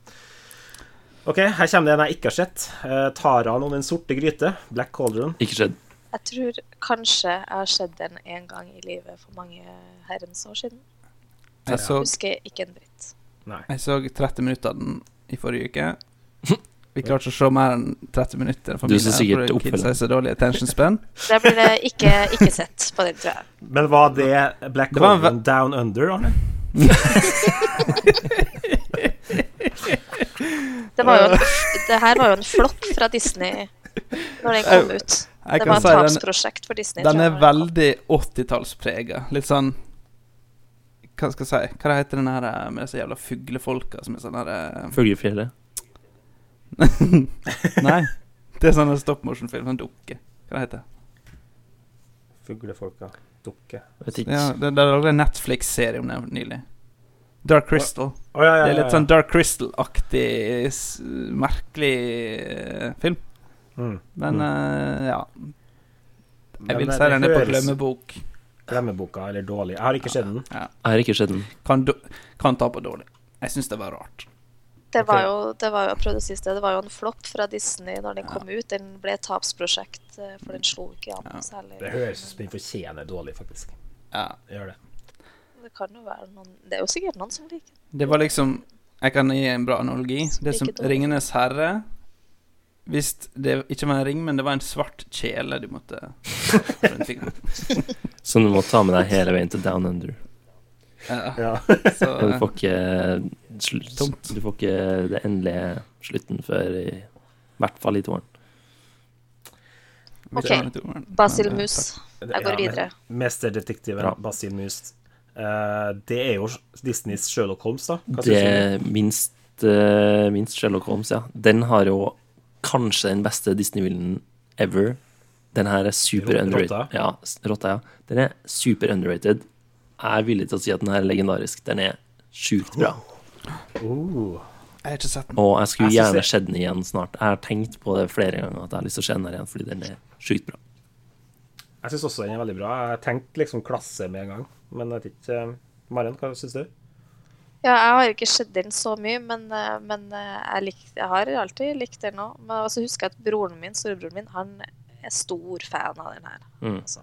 OK, her kommer det en jeg ikke har sett. Eh, Taran om den sorte gryte. Black Cauldron. Ikke skjedd. Jeg tror kanskje jeg har sett den en gang i livet for mange herrens år siden. Jeg så, Husker ikke en dritt. Nei. jeg så 30 minutter av den i forrige uke. Vi klarte ikke å se mer enn 30 minutter. for Du mine- ser sikkert for kids oppfølgeren. har så dårlig attention span. Det blir det ikke, ikke sett på den, tror jeg. Men var det Black Det var en Cauldron Down Under, Arne? Det, var jo en, det her var jo en flopp fra Disney når den kom ut. Jeg Det kan var et si den, tapsprosjekt for Disney. den tror er jeg, når den kom. veldig 80-tallsprega. Litt sånn Hva skal jeg si? Hva heter den her eh, med disse jævla fuglefolka som er sånn her eh, Fuglefjellet. Nei. Det er sånn en stop motion-film. Sånn dukke. Hva heter det? Fuglefolka. Dukke. Vet ikke. Ja, det, det lagde en Netflix-serie om det nylig. Dark Crystal. Å ja, ja, Det ja, er ja. litt sånn Dark Crystal-aktig, s- merkelig eh, film. mm. Men eh, ja. Men eh, Jeg vil det- si den det er på høres glemmebok. Glemmeboka eller dårlig. Jeg har ikke sett den. Ja. Jeg har ikke sett den. Kan, do, kan ta på dårlig. Jeg syns det var rart. Det Ok. var jo, det var jo jeg prøvde å si i sted, det var jo en flopp fra Disney når den kom ut. Den ble et tapsprosjekt litt, eh, for den slo ikke an noe særlig. Det høres ut som den fortjener dårlig, faktisk. Ja. Det gjør det. Men Det kan jo være noen Det er jo sikkert noen som liker den. Det var liksom Jeg kan gi en bra analogi. Det som Ikke dårlig. Ringenes herre Hvis det ikke var en ring, men det var en svart kjele du måtte rundt fingeren. Som du må ta med deg hele veien til Down Under. Ja, Ja. så Og du får ikke, sl- du får ikke det endelige slutten før i hvert fall i toeren. vi Ok. tar den til toeren. Basil Men, eh, Mus. Det- Jeg går ja, videre. Mesterdetektiven Bra. Basil Mus. Eh, det er jo Disneys Sherlock Holmes, da. Hva Det synes du? er minst, eh, minst Sherlock Holmes, ja. Den har jo kanskje den beste Disney-villen ever. Den her er super Rotta. underrated. Ja, s- rotta, ja. Den er super underrated. Jeg er villig til å si at den her er legendarisk. Den er sjukt bra. Oh. Jeg har ikke sett den. Og jeg skulle Jeg synes gjerne det- sett den igjen snart. Jeg har tenkt på det flere ganger at jeg har lyst til å se den her igjen, fordi den er sjukt bra. Jeg syns også den er veldig bra. Jeg tenkte liksom klasse med en gang, men jeg vet ikke eh, Maren, hva syns du? Ja, jeg har ikke sett den så mye, men, eh, men eh, jeg, lik, jeg har alltid likt den òg. Men så husker jeg at broren min, storebroren min, han er stor fan av den her. Mm. Altså,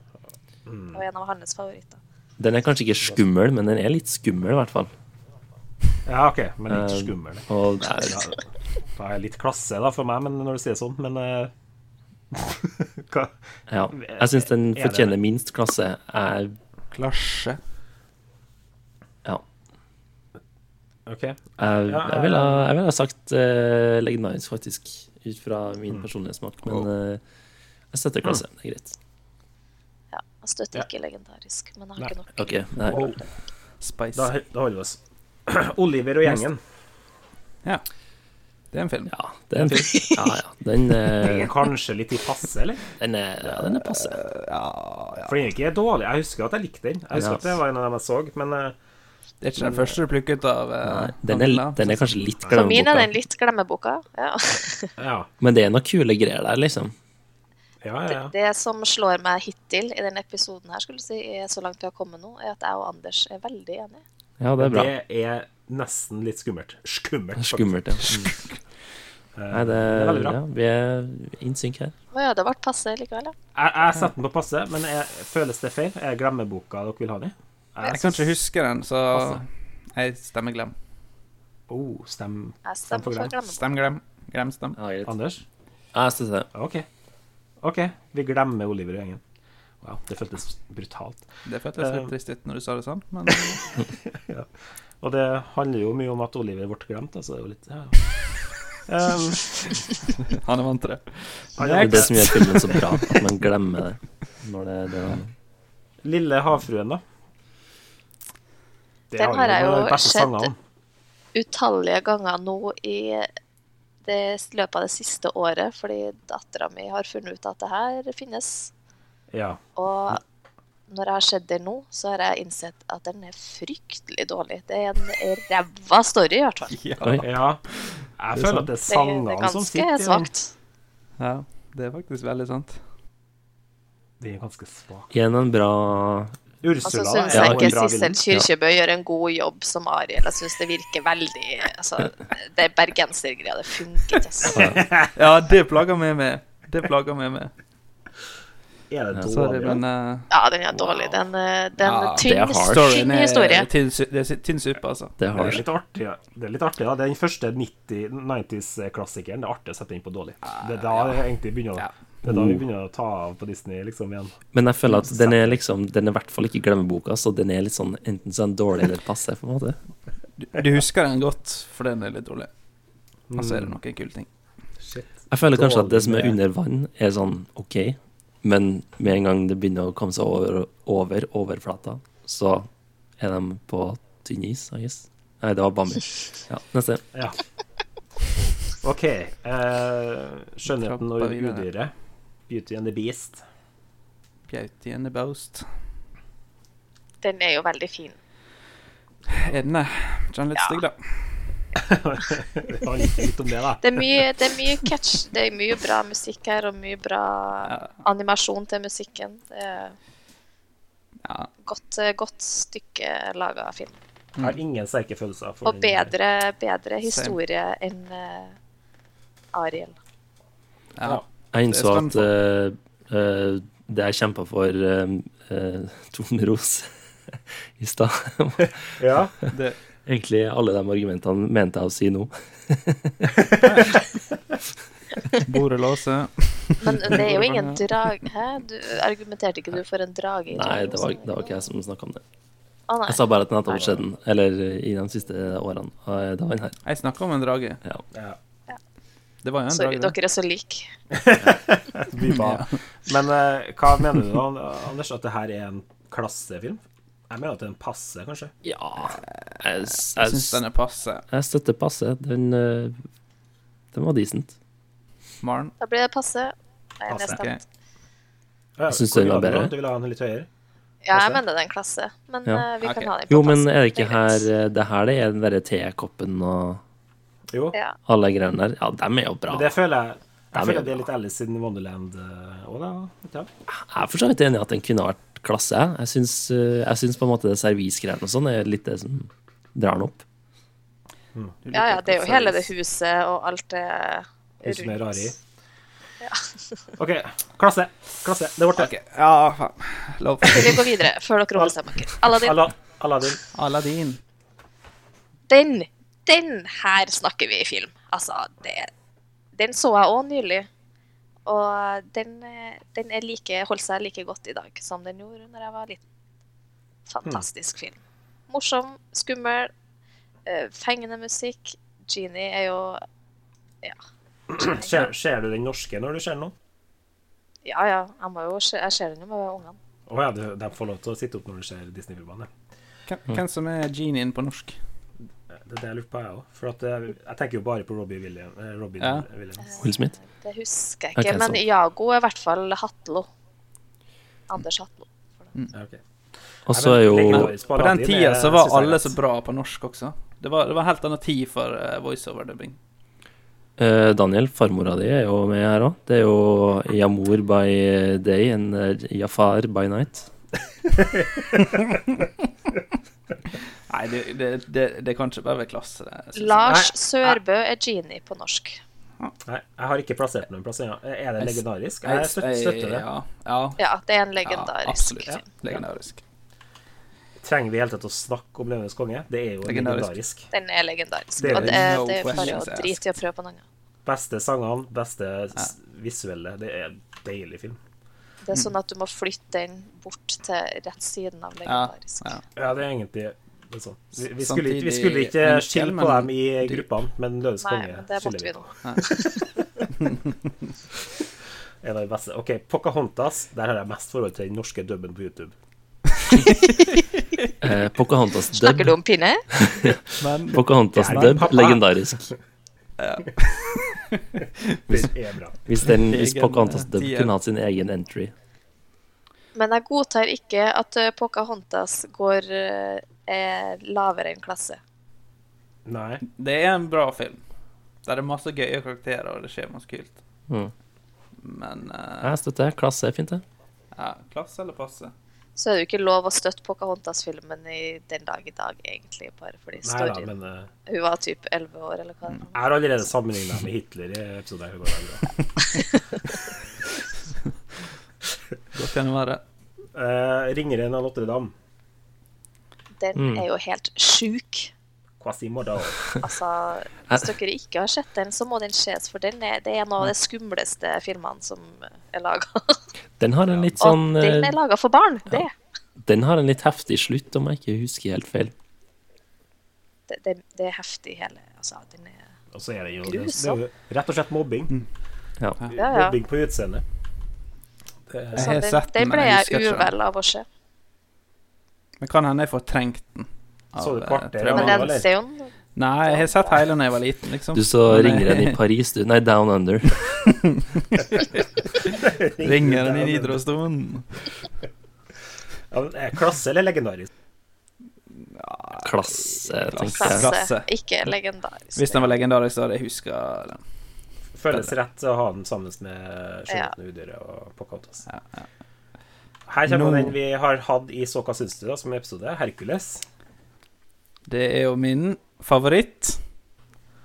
det var en av hans favoritter. Den er kanskje ikke skummel, men den er litt skummel, i hvert fall. Ja, OK, men litt Eh, skummel. altså, Og det er, Ja, det er litt klasse da for meg, men når du sier sånn, men eh, Hva? ja. Jeg syns den Er det- fortjener minst klasse. Jeg, Klasje. ja. OK. Jeg, Ja, jeg, ville, ha- jeg ville ha sagt eh, legendarisk, faktisk, ut fra min Mm. personlige smak. Men eh, jeg støtter klasse. Det er greit. Ja, jeg støtter Ja. ikke legendarisk, men jeg Nei. har ikke nok. Ok, nei. Wow. Spice. Da, da holder vi oss. Oliver og gjengen. Det er en film. Ja, det er en film. Ja, ja. Den, eh, Kanskje litt i passe, eller? den, er, ja, den er passe. For den er ikke dårlig. Jeg husker at jeg likte den. Jeg husker Ja. at det var en av dem jeg så, men eh, Det er ikke den første du plukket av eh, Nei, Den er, Camilla. den er kanskje litt For min er glemmeboka, den litt glemmeboka. Ja. ja. men det er noen kule greier der, liksom. Ja, ja, ja. Det som slår meg hittil i denne episoden her, skulle du si, er så langt vi har kommet nå, er at jeg og Anders er veldig enige. Ja, det er bra. Det er nesten litt skummelt. Skummelt. faktisk. Skummelt, ja. Nei, det, Det er veldig bra. ja, vi er in sync her. Å ja, det ble passe likevel, ja. Jeg, jeg setter den på passe, men jeg, føles det feil? Er glemmeboka dere vil ha den i? Jeg kan ikke huske den, så Passe. jeg stemmer glem. Oh, stem Jeg stemmer for glemmeboka. Stem glem. Glem stem. Ja, greit. Anders? Ja, jeg støtter det. OK. OK, vi glemmer Oliver og gjengen. Wow, det føltes brutalt. Det føltes Eh. litt trist ut når du sa det sånn, men Og det handler jo mye om at Oliver ble glemt, altså. Det er jo litt ja. ja. Um, han er vant til det. han Det er er det som ikke- gjør filmen så bra, at man glemmer det. Når det, det Lille havfruen, da. Det Den har jeg noen av jo de beste sett. sangene om. Utallige ganger nå i det løpet av det siste året, fordi dattera mi har funnet ut at det her finnes. Ja. Og når jeg har sett det nå, så har jeg innsett at den er fryktelig dårlig. Det er en ræva story, i hvert fall. Ja. Oi. ja. Jeg føler Det er at det er sant. Det er, det sangene er som ganske sitter i den. svakt. ja, det er faktisk veldig sant. Det er ganske svakt. Igjen en bra Og så Ursula syns da, Altså, jeg Ja, er jo ikke en bra Sissel villen. Kyrkjebø gjør en god jobb som Ariel. Jeg syns det virker veldig altså, Det er bergensergreia. Det funker ikke. Altså. Ja, det plager meg med. Det plager meg med. Er det Sorry, dårlig? men da? eh, Ja, den er dårlig. Den, eh, den Ja, det er tynn, harsh. tynn storyen er historie. tynn su- Det er tynn suppe, altså. Det Det har er litt artig, ja. det er litt artig da. Det er den første 90 90s-klassikeren. Det er artig å sette inn på dårlig. Det er da det egentlig begynner Ja. å det er da vi begynner å ta av på Disney liksom igjen. Men jeg føler at den er liksom Den er i hvert fall ikke glemmeboka, så den er litt sånn enten så er den dårlig eller passe, på en måte. Du, du husker den godt, for den er litt dårlig. Og så er det noen kule ting. Shit. Jeg føler kanskje at det som er Dårlig. under vann, er sånn OK, men med en gang det begynner å komme seg over, over overflata, så er de på tynn is, I guess. Nei, det var Bambi. Ja, neste. Ja. OK. eh, skjønnheten og Trappa videre. udyret. Beauty and the Beast. Beauty and the Boast. Den er jo veldig fin. Er den det? Ikke den litt Ja. stygg, da? Det handler ikke litt om det, da. Det er mye, det er mye catch. Det er mye bra musikk her, og mye bra animasjon til musikken. Det er Ja. godt, eh, godt stykke laga film. Jeg har ingen sterke følelser. For Og den- bedre, bedre historie enn eh, Ariel. ja. Jeg Det innså skal den at eh, det jeg kjempa for uh, Torn Ros i stad. Ja. Det, Egentlig alle de argumentene mente jeg å si nå. bordet låser. Men det er jo ingen drag... Hæ? Du argumenterte ikke du for en drage? i Nei, Trondheim, det var, sånn? det var ikke jeg som snakka om det. Å, nei. Jeg sa bare at den hadde vært skjedd, eller i de siste årene. Eh, Det var den her. Jeg snakka om en drage. ja. Det var jo en Sorry, drage. det. dere er så like. Vi var. Men eh, hva mener du, da, Anders? At det her er en klassefilm? Jeg mener at den passer, kanskje. Ja Jeg, s- Jeg jeg, syns s- den er passe. jeg støtter passe. Den, eh, den var decent. Maren. Da blir det passe. Nei, Passe. nedstemt. ok. Ja, Jeg synes hvor den vil var du ha bedre. Du vil ha den litt høyere? Ja, Passe. jeg mener det er en klasse, men Ja. eh, vi Ok. kan ha den på Jo, passe. men er det ikke Det er her greit. eh, Det her det er den derre tekoppen og Jo. Ja. alle greiene der. Ja, dem er jo bra. Men det føler jeg Ja, Jeg men- føler det er litt Alice in Wonderland òg, da. Ja. Jeg er for så vidt enig i at den kunne vært klasse. jeg. Jeg syns, eh, jeg syns på en måte det servisgreiene og sånn er litt det som drar den opp. Du ja, liker ja, det er jo kassavis. hele det huset og alt det Huset med rare i. rundt. OK. Klasse. Klasse. Det ble det. Ok, Ja, faen. Lov. Vi går videre før dere ombestemmer dere. Aladdin, Alla- Aladdin. Aladdin. den, den her snakker vi i film. Altså, det, den så jeg òg nylig. Og den, eh, den er like, holdt seg like godt i dag som den gjorde når jeg var liten. Fantastisk film. Morsom, skummel, eh, fengende musikk. Genie er jo Ja. Ser, ser du den norske når du ser den nå? Ja, ja. Jeg, må jo, se- jeg ser den jo med ungene. Å ja, du- de får lov til å sitte opp når du ser Disney-filmene. Hvem, hvem som er genien på norsk? Det er det jeg lurer på, jeg òg. For at jeg, jeg tenker jo bare på Robbie William, eh, Robin Ja. Williams. Will Smith. Det husker jeg Ok, ikke, men sånn. Iago er i hvert fall Hatlo. Anders Hatlo. Ja, ok. Og så er jo På den tida så var alle så bra på norsk også. Det var, det var helt annen tid for eh, voiceover-dubbing. Eh, Daniel, farmora di er jo med her òg. Det er jo Yamur by day and eh, Jafar by night. Nei, det, det, det, det kan ikke bare være klasse. Det, synes jeg. Lars Nei. Sørbø er Genie på norsk. Nei, jeg har ikke plassert den noen plass ennå. Eh, Er det Jeg- legendarisk? Jeg støtter, støtter det. Ja, ja, Ja, det er en ja legendarisk absolutt. film. Legendarisk. Trenger vi i hele tatt å snakke om Løvenes konge? Det er jo legendarisk. Legendarisk. Den er legendarisk. Det er og det, no det er bare å questions asked. drite i å prøve på noe annet. Beste sangene, beste s- visuelle. Det er en deilig film. Det Mm. er sånn at du må flytte den bort til rett siden av legendarisk. ja. Ja, det er egentlig det er sånn. Vi, vi, S- skulle, ikke- vi samtidig skulle ikke enkel, skille på men dem i dyp. gruppene, men Løvenes Nei, konge men det måtte skiller vi vi nå. En av de beste. OK, Pocahontas. Der har jeg mest forhold til den norske dubben på YouTube. Eh, Pocahontas dub. Snakker du om pinne? Men Pocahontas Jeg er dub, pappa. legendarisk. Den er bra. Hvis, den, hvis Egen, Pocahontas eh, dub tier. kunne hatt sin egen entry. Men jeg godtar ikke at eh, Pocahontas går eh, er lavere enn klasse. Nei. det er en bra film. Der det er masse gøye karakterer, og det skjer masse kult. Mm. Men eh, Jeg støtter. Klasse er fint, det. ja, klasse eller passe? Så er det jo ikke lov å støtte Pocahontas-filmen i den dag i dag, egentlig, bare fordi Nei da, storyen men Mm. eh, Hun var typ 11 år, eller hva det var. jeg har allerede sammenligna med Hitler i episoden her. går det bra. Godt kan det være. Eh, Ringeren av Notre-Dame. Den Mm. er jo helt sjuk. Quasimodo. Altså, hvis dere ikke har sett den, så må den ses, for den er, det er en av de skumleste filmene som er laga. Den har en litt Og sånn den eh, er laga for barn! Det, Den har en litt heftig slutt, om jeg ikke husker helt feil. det, det, det er heftig, hele altså, den er, Og så er det jo det, det Grusom. er jo rett og slett mobbing. Ja. Ja, ja. Mobbing på utseendet. Jeg så har den, sett den, den men ble jeg jeg husker ikke den. uvel av å se. Men kan hende jeg fortrengte den. av, Så du eh, kvarter, traumer. Ja, Men men den vel, det er jo en Nei, jeg har sett hele da jeg var liten, liksom. Du så Men jeg- ringeren i Paris, du. Nei, Down Under. Ringeren i Nidarosdomen. Ja, men, eh, Klasse eller legendarisk? Klasse, tenker jeg. klasse, Klasse. ikke legendarisk. Hvis den var legendarisk, så hadde jeg huska den. Føles rett å ha den sammen med Ja. Sjøhotne Udyr og Pocahontas. Her kommer Nå- den vi har hatt i Såka syns du, da, som episode. Hercules. Det er jo min favoritt.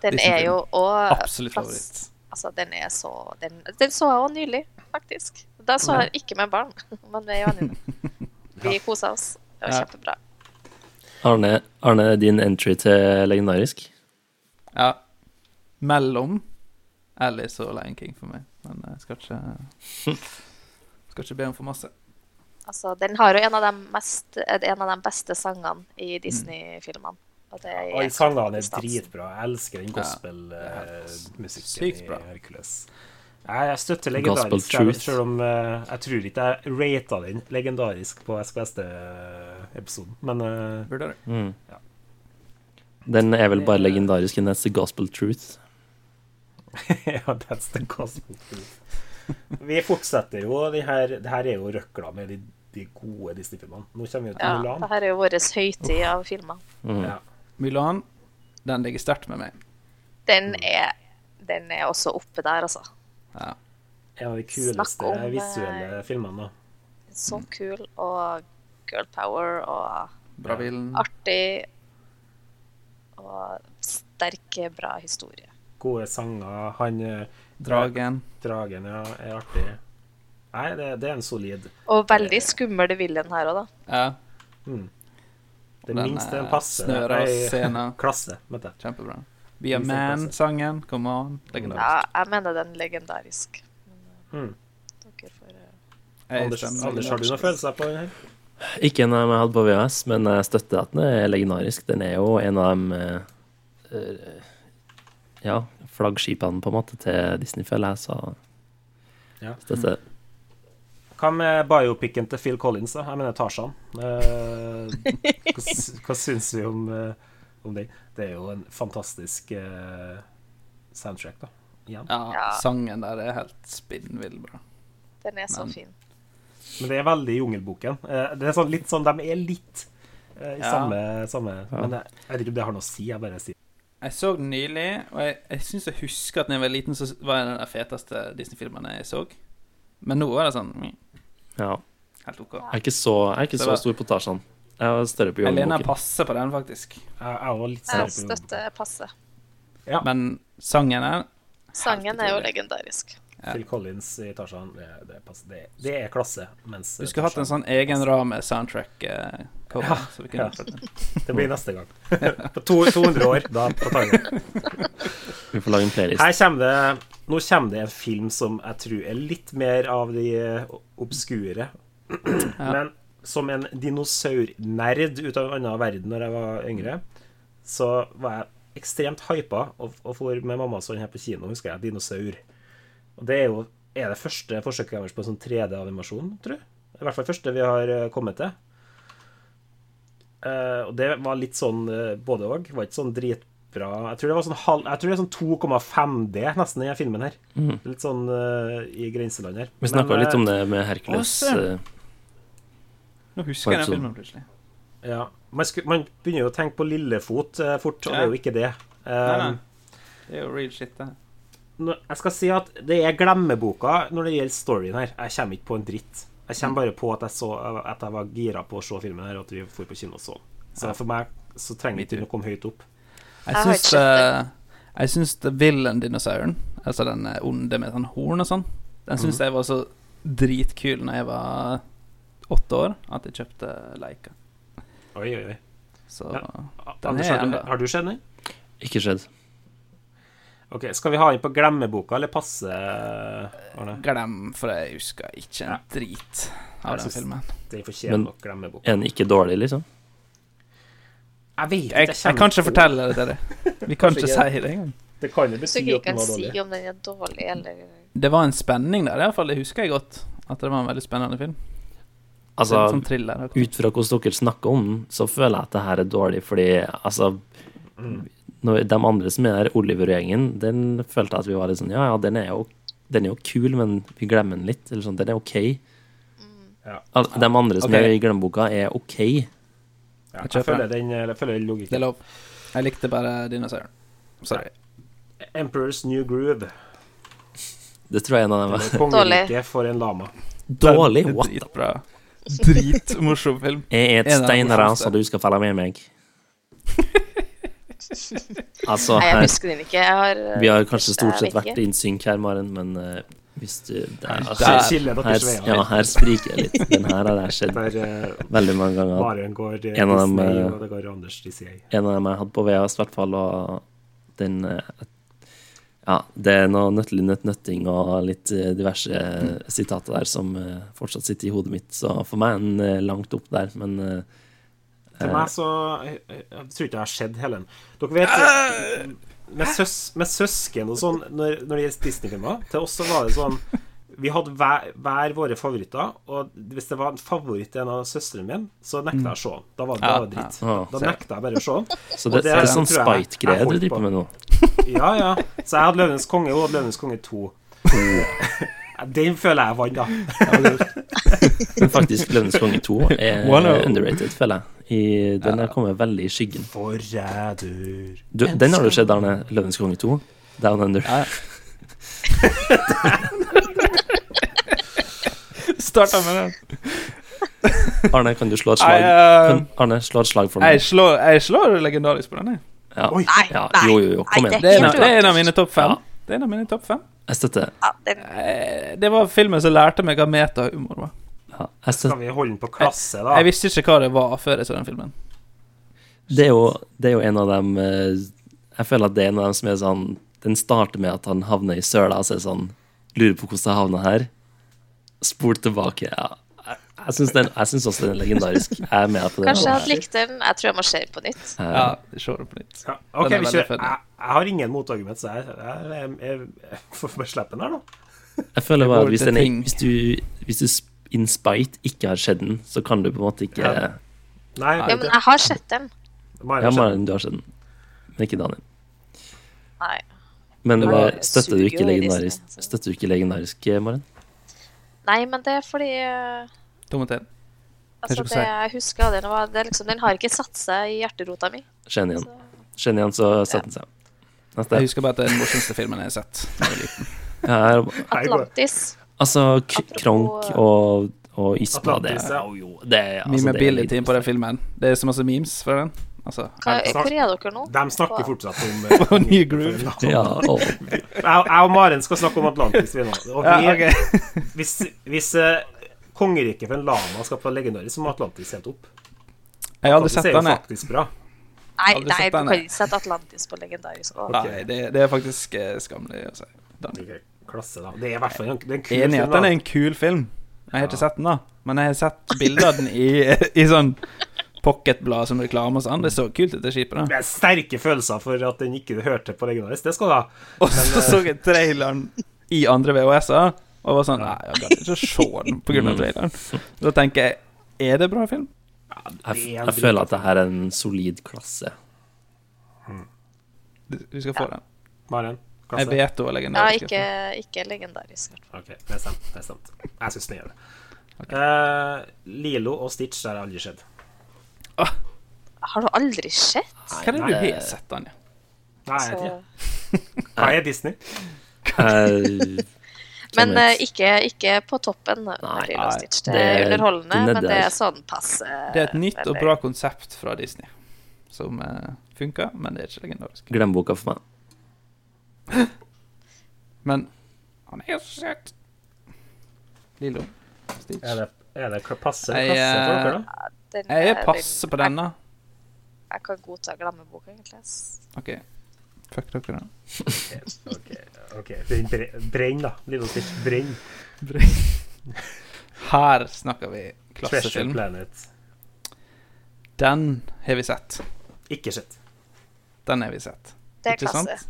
den er jo òg Absolutt favoritt. Altså, den er så Den, den så jeg også nylig, faktisk. Da så jeg ikke med barn, men med Janine. Vi kosa oss. Det var Ja. kjempebra. Arne, Arne, din entry til legendarisk? Ja. Mellom Alice og Lion King for meg. Men jeg skal ikke Skal ikke be om for masse. Altså, den har jo en av de, mest, eh, en av de beste sangene i Disney-filmene. Og det er Alle Mm. sangene er stas. dritbra. Jeg elsker den gospelmusikken Sykt i bra. Hercules. Jeg jeg støtter Gospel legendarisk, truth. selv om eh, jeg tror ikke jeg rata den legendarisk på SKSD-episoden, men eh, Burde du? Mm. Den er vel bare legendarisk i neste Gospel Truth. Ja, that's the gospel truth. Vi fortsetter jo de her, det her er jo røkla med de, de gode Disney-filmene. Nå kommer vi jo til Ja, Mulan. det her er jo vår høytid av filmer. Mm. Ja. Mulan, den ligger sterkt med meg. Mm. Den er, den er også oppe der, altså. Ja. En av de Snakk kuleste om, eh, visuelle filmene. da. Så Mm. kul og girl power og Bravillen. Mm. artig. Og sterk, bra historie. Gode sanger. Han eh, Dragen. Dragen, ja, er artig. Nei, det, det er en solid. Og veldig skummel villain her òg, da. Ja, Det Den, minste en eh, passe. snørascena. Klasse, vet jeg. kjempebra. Be a Viser Man-sangen. Come on. Legendarisk. Ja, jeg mener den legendarisk. Men, Mm. eh, dere får, eh, Jeg Anders, stemmer Anders, har du noen legendarisk. følelser på den her? Ikke en av dem jeg hadde på VHS, men jeg støtter at den er legendarisk. Den er jo en av de eh, eh, ja, flaggskipene på en måte til Disney, føler jeg, så Ja. støtter. Hva med biopicen til Phil Collins, da? Jeg mener Tarzan. Eh, hva, s- hva syns vi om, eh, om det? Det er jo en fantastisk eh, soundtrack, da. Igjen. Ja, Ja. sangen der er helt spinnvill bra. Den er så Men- fin. Men det er veldig Jungelboken. Eh, det er sånn, litt sånn, De er litt eh, i Ja. samme, samme Men jeg, jeg vet ikke om det har noe å si. Jeg bare sier Jeg så den nylig, og jeg, jeg syns jeg husker at da jeg var liten, så var en av de feteste Disney-filmene jeg så. Men nå er det sånn mm, Ja. helt OK. Jeg er ikke så, jeg er ikke Så så hva- stor på Tarzan. Jeg var større på Jeg lener Jungelboken. passe på den, faktisk. Jeg, jeg var litt Jeg sær på Jungelboken. støtter passe. Men sangen her Sangen er jo utrolig. legendarisk. Phil Collins i Tarzan, det, det, passer- det, det er klasse. Mens eh, Du skulle hatt en Tarzan- sånn egen rame soundtrack-cover. eh, så vi ja. kunne sånn. Det blir neste gang. på to, 200 år. Da på Tarzan. Vi får lage en playlist. Her kommer det Nå kommer det en film som jeg tror er litt mer av de eh, obskure. Men som en dinosaurnerd ut av en annen verden når jeg var yngre, så var jeg ekstremt hypa og, og for med mamma og sånn her på kino, husker jeg, dinosaur. Og det er jo er det første forsøket deres på en sånn 3D-animasjon, tror jeg. I hvert fall første vi har eh, kommet til. Eh, og det var litt sånn eh, både òg. Var ikke sånn dritbra Jeg tror det var sånn, halv, jeg tror det er sånn 2,5D nesten i den filmen her. Litt sånn eh, i grenseland her. Mm. Vi snakka litt om det. det med Hercules. eh, Å, søren. eh, Nå husker jeg den Sånn. filmen plutselig. eh, Ja. Man, sku, man begynner jo å tenke på Lillefot eh, fort, og Ja. det er jo ikke det. Nei, Eh, nei. Det er jo real shit, det. her. nå- jeg skal si at det er glemmeboka når det gjelder storyen her. Jeg kommer ikke på en dritt. Jeg kommer bare på at jeg, så, at jeg var gira på å se filmen her, og at vi dro på kino og så den. Så for meg så trenger ikke den å komme høyt opp. Jeg Jeg har syns ikke sett eh, Jeg syns The Villain-dinosauren, altså den eh, onde med sånn horn og sånn, den syns jeg var så dritkul når jeg var åtte år, at jeg kjøpte leika. Oi, oi, oi. Så Den Anders, er har du, enda. har du sett den? eh, Ikke skjedd. Ok, Skal vi ha inn på glemmeboka, eller passe, Arne? glem, for jeg husker ikke en drit Jeg av den syns- filmen. Den Men- fortjener nok glemmeboka. Er den ikke dårlig, liksom? Jeg vet ikke, Jeg, jeg kan ikke kjenner- fortelle det til deg. Vi kan Kanskje ikke ikke. si det engang. Det kan jo Så bety jeg at den kan var si dårlig. om den er dårlig eller Det var en spenning der, iallfall. Det husker jeg godt. At det var en veldig spennende film. Altså, en sånn thriller. ut fra hvordan dere snakker om den, så føler jeg at det her er dårlig, fordi altså Mm. når De andre som er her, Oliver og gjengen, den følte jeg at vi var litt sånn Ja, ja, den er jo, den er jo kul, men vi glemmer den litt. Eller sånn, den er OK. Mm. Ja. Al de andre som Ok. er i glemmeboka, er OK. Ja, Jeg jeg kjøper følger den, jeg følger den Det er logikken. lov. Jeg likte bare dinosauren. Sorry. Emperor's New Groove. Det tror jeg er en av dem var. Kongeriket for en lama. Dårlig? Den er What? Dritbra. Dritmorsom film. Jeg er En et av dem steinras, morsomste. og du skal følge med meg. Altså, Nei, jeg her, husker den ikke. Jeg har eh, vi har kanskje stort Jeg sett vet vært ikke. i synk her, Maren, men eh, hvis du det er, Der skiller dere her, veier. ja, her spriker jeg litt. Den her har jeg sett Der eh, veldig mange ganger. Maren går eh, En av dem, Disney, eh, og det går Anders DCA. En av dem jeg hadde på VEAS, i hvert fall, og den eh, Ja, det er noe nøttelig nøtt-nøtting og litt eh, diverse eh, sitater der som eh, fortsatt sitter i hodet mitt, så for meg er den eh, langt opp der, men eh, Til meg så Jeg, jeg, jeg tror ikke jeg har sett hele den. Dere vet eh, med, søs, med søsken og sånn, når, når det gjelder Disney-filmer Til oss så var det sånn Vi hadde hver, hver våre favoritter, og hvis det var en favoritt til en av søstrene mine, så nekta jeg å se den. Da var det Ja, bare dritt. ja. Da nekta jeg bare å se den. Så det, Og det det er er- sånn tror jeg jeg spite-greier du holdt driver på. med nå. Ja, ja. Så jeg hadde Løvenes konge, og hun hadde Løvenes konge 2. Den føler jeg vant, da. Men faktisk, Løvenes konge 2 er Wow. underrated, føler jeg. I, den er kommet veldig i skyggen. Forræder. Du, den har du sett, Arne. Løvenes konge 2. Down Under. Starta med den. Arne, kan du slå et Jeg, slag? eh, Kan, Arne, slå et slag for jeg, meg. slår, jeg slår legendarisk på den, jeg. Ja. Oi. Nei, Ja, nei. jo, jo, jo, kom nei, igjen. Det er, en, helt av- det er en av uaktuelt. mine topp fem. Ja. Det er en av mine topp fem. Jeg støtter. Ja, den, Eh, Det var filmen som lærte meg hva metahumor var. Ja, jeg støtter. Skal vi holde den på klasse, da? Jeg visste ikke hva det var før jeg så den filmen. Det er jo, det er jo en av dem eh, Jeg føler at det er en av dem som er sånn Den starter med at han havner i søla og så er det sånn Lurer på hvordan jeg havna her. Spol tilbake. Ja. Jeg, jeg syns den- jeg syns også den er legendarisk. Jeg er med på den. kanskje jeg hadde likt den. Jeg tror jeg må se den på nytt. Eh, Ja, vi ser det på nytt. Ja, ok, Den er vi veldig kjører. funny. Jeg, jeg har ingen motargument, så jeg, jeg, jeg, jeg, jeg får bare slippe den her, da. Jeg føler Det bare går at hvis, til den, er- ting. hvis du, hvis du sp- in spite ikke har sett den, så kan du på en måte ikke Ja. Nei, Ja, men jeg har sett den. Ja, Maren, Maren, du har sett den, men ikke Daniel. Nei. Men Nei, hva- det støtter du suger ikke jo i altså. legendarisk, Disney, så- støtter du ikke legendarisk, eh, Maren? Nei, men det er fordi eh, Tommeten. Altså, Kanskje det jeg husker av den, var det er liksom, den har ikke satt seg i hjerterota mi. Skjenn igjen. Skjenn igjen, så setter den seg. Neste. Jeg husker bare at det er den morsomste filmen jeg har sett. da jeg Altså, var liten. Ja, her- Hei, går det. Atlantis. Altså, k Apropos- eh, Kronk og, og Isma, det Atlantis, er ja. jo jo, det er, altså, det er Memeability på den filmen. Det er så masse memes fra den. Altså, Hva, Nei, hvor er dere nå? de snakker fortsatt om eh, Og ny groove. Ja, Jeg, og, jeg og Maren skal snakke om Atlantis, vi nå. Og vi, ja, ok. Hvis, hvis eh, kongeriket for en lama skal få legendarisk, så må Atlantis helt opp. Jeg har aldri Atlantis sett er jo den, jeg. faktisk bra. Nei, Aldri nei, sett du den, kan jeg. ikke sette Atlantis på legendarisk. Å, Nei, det, det er faktisk eh, skamlig å si. Den. Ok, Klasse, da. Det er i hvert fall en, det er en kul Enig i film, at den da. er en kul film. Jeg har ikke sett den, da. Men jeg har sett bilder av den i, i sånn pocketblad som reklame og sånn. Det så kult ut, det skipet. da Det er sterke følelser for at den ikke hørte på legendarisk. Det skal du ha. Og så eh, så jeg traileren i andre VHS-er, og var sånn Nei, jeg gadd ikke å se den på Mm. grunn av traileren. Da tenker jeg Er det bra film? jeg, jeg føler at det her er en solid klasse. Du du skal få den. Maren, Jeg klasse. vet du er Ja, legendarisk. ikke, ikke legendarisk. i hvert fall. Ok, det er sant. Det er sant. Jeg syns den gjør det. Eh, Lilo og Stitch, det har jeg aldri sett. Har du aldri sett? Hva er det du har sett, Anja? Nei, jeg Så... vet ikke. Hva er Disney? Jeg- Men Hvem vet? eh, ikke, ikke på toppen. Nei, Lilo nei, Stitch. Det det er er underholdende, nede men det der. er sånn passe. Det er et nytt og veldig. bra konsept fra Disney som eh, funker, men det er ikke legendarisk. Glem boka for meg. Men han er jo så søt. Lilo. Stitch. Er det, er det kla- passe Nei, klasse for eh, dere, da? Den Jeg er er passe på denne. Jeg, jeg kan godta glemmeboka, egentlig. ass. OK. Fuck dere, da. Ok, den bre- Brenn, da. Lilo og Stitch, brenn. Her snakker vi Treasure klassefilm. Planet. Den har vi sett. Ikke sett. Den har vi sett. Det er Ikke sant? klasse.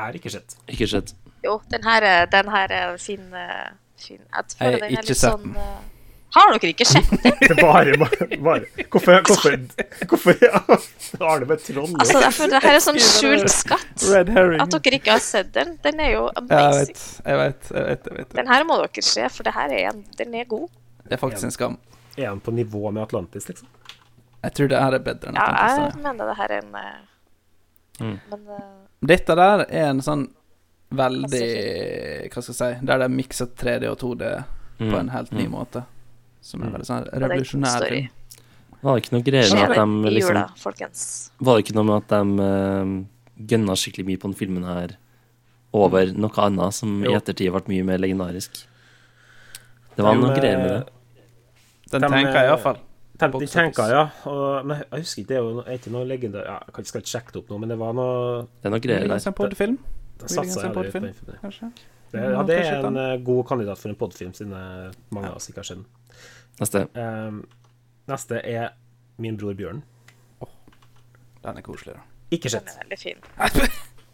Er ikke sett. Ikke sett. Jo, den her, er- den her er fin, eh, fin. Jeg tror Jeg den har er ikke sett litt sånn eh, Har dere ikke sett den? Det er bare, bare, bare. Hvorfor Hvorfor, hvorfor ja. Arne med troll? Altså, jeg føler det her er sånn skjult skatt. Red herring. At dere ikke har sett den. Den er jo Ja, jeg amazing. vet, jeg vet, jeg vet, jeg vet. Den her må dere se, for det her er en, den er god. Det er faktisk en skam. Er han på nivå med Atlantis, liksom? Jeg sånn. tror det her er bedre enn Ja, jeg Atlantis. da. mener det her er en eh, Men eh, Dette der er en sånn veldig Hva skal jeg si Der det er miksa Mm. Mm. 3D og 2D på en helt ny måte. Som er veldig sånn det er en god revolusjonær story. film. Var Mm. det ikke noe greier med Skjer at det de i liksom jula, folkens. Var det ikke noe med at de eh, gønna skikkelig mye på den filmen her over noe annet som i Mm. Jo. ettertid ble mye mer legendarisk? Det var De, noe eh, greier med det. Den De, tenker eh, jeg iallfall. Tem- De Box tenker, office. ja. Og, men jeg husker ikke, det er jo no- er ikke noe legendar... Ja, jeg kan- skal ikke sjekke det opp nå, men det var noe Det er noe greier Muligens der. en podfilm, Da Muligens satsa en jeg litt på podfilm. den filmen. sånn kanskje. Det, Ja, ja, det kanskje er ikke en eh, god kandidat for en podfilm, siden eh, mange av oss ikke har sett den. Neste. Ehm, neste er Min bror Bjørn. Den er koselig, da. Ikke Den sett. er veldig fin.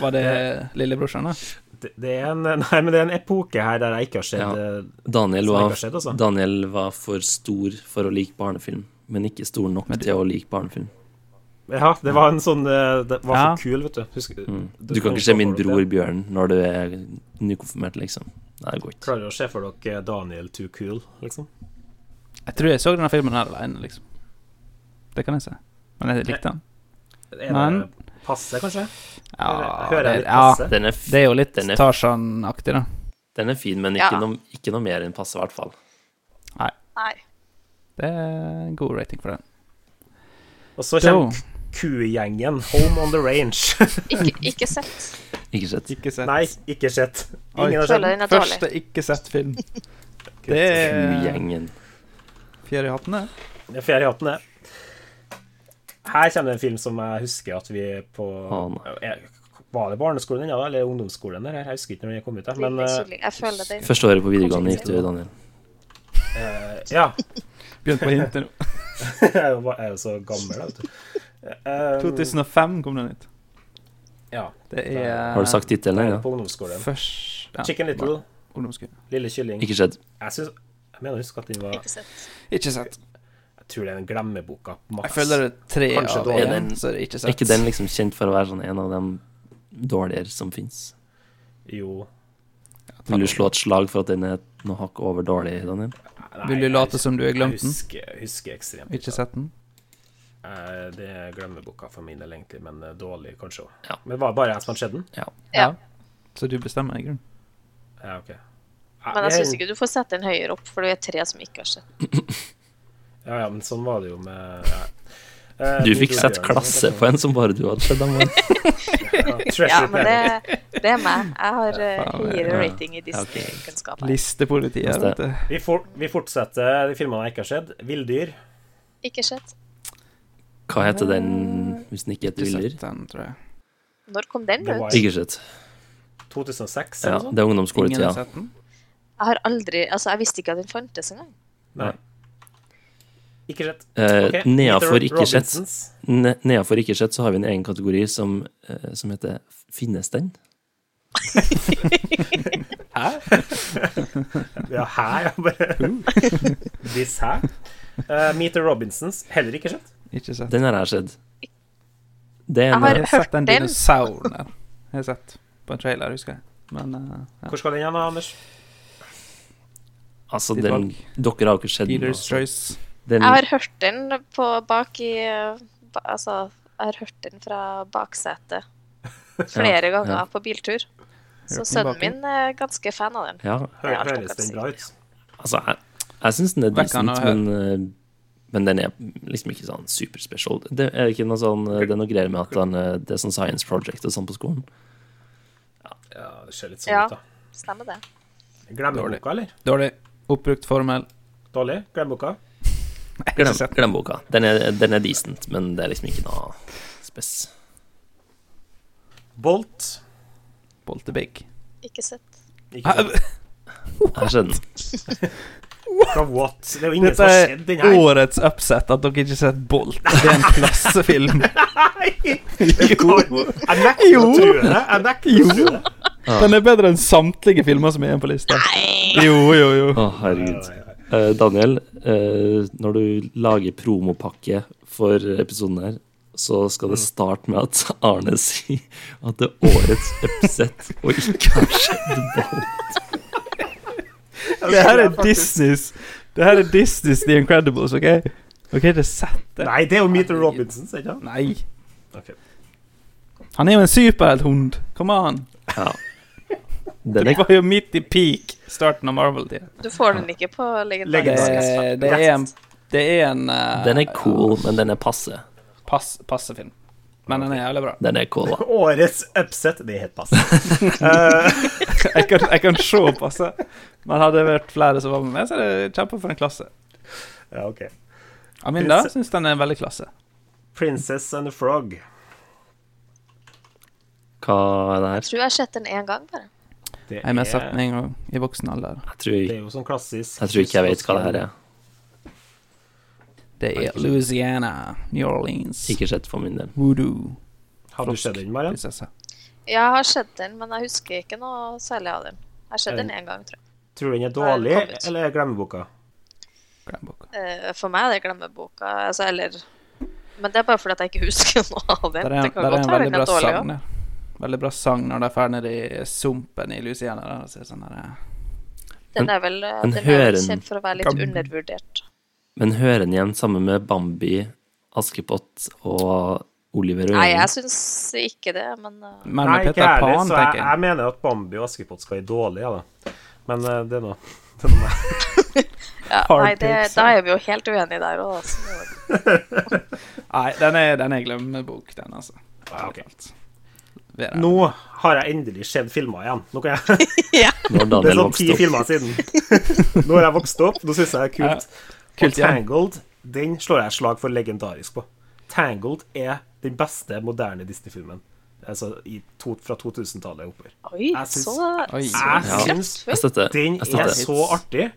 Var det lillebrorsan, da? Det, det er en Nei, men det er en epoke her der jeg ikke har sett Ja. eh, Daniel Som ikke var, har skjedd, altså. Daniel var for stor for å like barnefilm, men ikke stor nok til å like barnefilm. Ja, det var en sånn eh, Det var Ja. så kul, vet du. Husk, Mm. Du kan ikke se min bror Bjørn når du er nykonfirmert, liksom. Nei, det går ikke. Klarer å se for dere eh, Daniel Too Cool, liksom? Jeg tror jeg så denne filmen her alene, liksom. Det kan jeg si. Men jeg likte den. Er det Men- passe, kanskje? Ja, Hører jeg det, litt ja, passe? Den er, f- det er jo litt Den er- Tarzan-aktig, da. den er fin, men Ja. ikke, noe, ikke noe mer enn passe, i hvert fall. Nei. Det er en god rating for den. Og så Jo, kommer Kugjengen, Home on the Range. Ikke, ikke sett. Ikke sett. ikke sett. Nei, ikke sett. Oi. Ingen har sett. Føler den er dårlig. Første ikke sett film. Det er Ugjengen. fjær i hatten, det. Det er fjerde i hatten, det. Her kommer det en film som jeg husker at vi på Å, Er- Var det barneskolen ennå, da? eller ungdomsskolen? Der? Jeg husker ikke når den kom ut. da, Men Lille Killing. Jeg føler den Første året på videregående gikk du, Daniel. eh, ja. Begynte på hintet nå. Jeg er jo- jeg er jo så gammel, da, vet du. Eh, 2005 kom den ut. Ja. Det er Har du sagt tittelen jeg er ennå? På ungdomsskolen. Først ja, Chicken bare Little, ungdomsskolen. Lille Kylling. Ikke skjedd. Jeg, synes, jeg mener å huske at den var ikke sett. Ikke sett. Jeg tror det er den glemmeboka. Max. Jeg føler det er tre Kanskje av dårlig. Er den- én, så er det ikke Er sett. ikke den liksom kjent for å være sånn en av de dårligere som fins? Jo. Vil du slå et slag for at den er noe hakk over dårlig, Daniel? Nei, Vil du late som du har jeg glemt den? Husker, jeg husker ekstremt. Ikke sett den? Eh, Det er glemmeboka for min del, egentlig, men eh, dårlig kanskje òg. Ja. Men var det bare jeg som hadde sett den? Ja. Så du bestemmer i grunnen? Ja, OK. Ah, Men jeg syns ikke du får sette den høyere opp, for det er tre som ikke har sett. den. Ja, ja, men sånn var det jo med ja. Eh, Du Min fikk bror sett Bjørn, klasse det på en som bare du hadde sett. Daniel. var- Ja, Treasure Ja, men Planet. det, det er meg. Jeg har eh, høyere ja. rating i Ja, ok. Disney-kunnskapen. Listepolitiet, Neste. vet du. Vi, for, vi fortsetter de filmene jeg ikke har sett. Villdyr. Ikke sett. Hva heter den hvis den ikke heter Ikke Viller? sett den, tror jeg. Når kom den Det ut? var i Ikke sett. 2006 Ja, eller noe sånt. det er sånn? Ingen har ungdomsskoletida. sett den? Jeg har aldri Altså, jeg visste ikke at den fantes engang. Nei. Ikke sett. Eh, Ok, Nedafor Peter ikke sett Robinsons. ne- Nedafor ikke sett så har vi en egen kategori som, eh, som heter Finnes den? Ja, her, ja. Bare Uh. This her. Eh, Meet the Robinsons. Heller ikke sett. Ikke sett. Den har jeg sett. Det er Jeg en, har Jeg har sett hørt den den. dinosauren der. Jeg har sett på en trailer, husker jeg. Men eh, ja. Hvor skal den hen, da, Anders? altså, Ditt den, dere har jo ikke sett den. Peter's Altså. Choice. Den, Jeg har hørt den på bak i eh, ba, Altså, jeg har hørt den fra baksetet flere ganger ja. på biltur. Så den sønnen baki. min er ganske fan av den. ja, Hø Ja, alt høres dere den sier. bra ut? Altså, jeg, jeg syns den er Hva kan decent, jeg men, eh, men den er liksom ikke sånn superspesial. Det er ikke noe sånn eh, Det er noe greier med at den, eh, det er sånn science project og sånn på skolen. Ja, det ser litt sånn Ja, ut, da. stemmer det. Glemmeboka, eller? Dårlig. Oppbrukt formel. Dårlig? Glemmeboka? Glem, Ikke sett. glem boka. Den er, den er decent, men det er liksom ikke noe spes. Bolt? Boltebig. Ikke sett. Ikke sett. Jeg skjønner. Hva, what? Det er jo ingen Dette som har er sett den her. årets upset, at dere ikke har sett Bolt. Det er en klassefilm. Jo. Jeg nekter å Jo. tro det. Jeg nekter å tro det. Den er bedre enn samtlige filmer som er igjen på lista. Jo, jo, jo. Å, herregud. Eh, Daniel, eh, når du lager promopakke for episoden her, så skal det starte med at Arne sier at det er årets upset og ikke har skjedd ball. Det her er Disneys Det her er Disneys The Incredibles, OK? Dere har ikke sett det? Nei, det er jo Meter Robinson, sier ikke han? Nei. Ok. Han er jo en superhelthund. Come on. Ja. Den Det er, var jo midt i peak starten av Marvel-tida. Du får den ikke på Det, legendarisk. det er en Det er en eh, Den er cool, men den er passe. pass, passe film. Men den er jævlig bra. Den er cool, da. Årets upset Det er helt passe. Jeg kan, jeg kan se passe. Men hadde det vært flere som var med meg, så er det kjempe for en klasse. Ja, ok. Aminda syns den er veldig klasse. Princess and the Frog. Hva er det her? Jeg tror jeg har sett den én gang, bare. Det Jeg er med setning og- i voksen alder. Jeg tror, det er jo sånn klassisk jeg tror ikke jeg vet hva det her er. Det er Louisiana, New Orleans, Ikke sett for min del. voodoo, Har du sett den, Marian? prinsesse. Ja, jeg har sett den, men jeg husker ikke noe særlig av den. Jeg har sett Er den- den én gang, tror jeg. Tror du den er Nei, den dårlig, kom ut. eller er glemmeboka? Glemmeboka. Eh, For meg er det glemmeboka, altså, eller Men det er bare fordi at jeg ikke husker noe av den. Der Det er, kan der er godt en være veldig den bra er dårlig sang òg. der. Veldig bra sang når de er ferdig nede i sumpen i Louisiana. Der, og så er det sånn der, eh, Den er vel eh, Men den er vel høren- kjent for å være Gam- litt undervurdert. Men hører den igjen sammen med Bambi, Askepott og Oliver og Nei, Jørgen? jeg syns ikke det, men eh, Nei, Mer med ikke jeg Peter heller, så Pan, jeg, tenker jeg. jeg mener at Bambi og Askepott skal være dårlig, ja da. Men eh, det er nå det er nå meg. ja, Hard nei, det, takes, da ja. er vi jo helt uenige der òg, altså. Nei, den er, den er glemmebok, den, altså. Ja, Ah, ok. Vera. Nå har jeg endelig sett filmer igjen. Nå kan jeg, Når det er Daniel sånn ti vokste opp. filmer siden. Nå har jeg vokst opp, nå syns jeg det er kult. Kult, og ja. Tangled, den slår jeg slag for legendarisk på. Tangled er den beste moderne Disney-filmen. Altså i to, fra 2000-tallet og oppover. Oi, Jeg syns- så, Oi. så Jeg Ja. syns Jeg støtter. Den Jeg er støtter. så artig.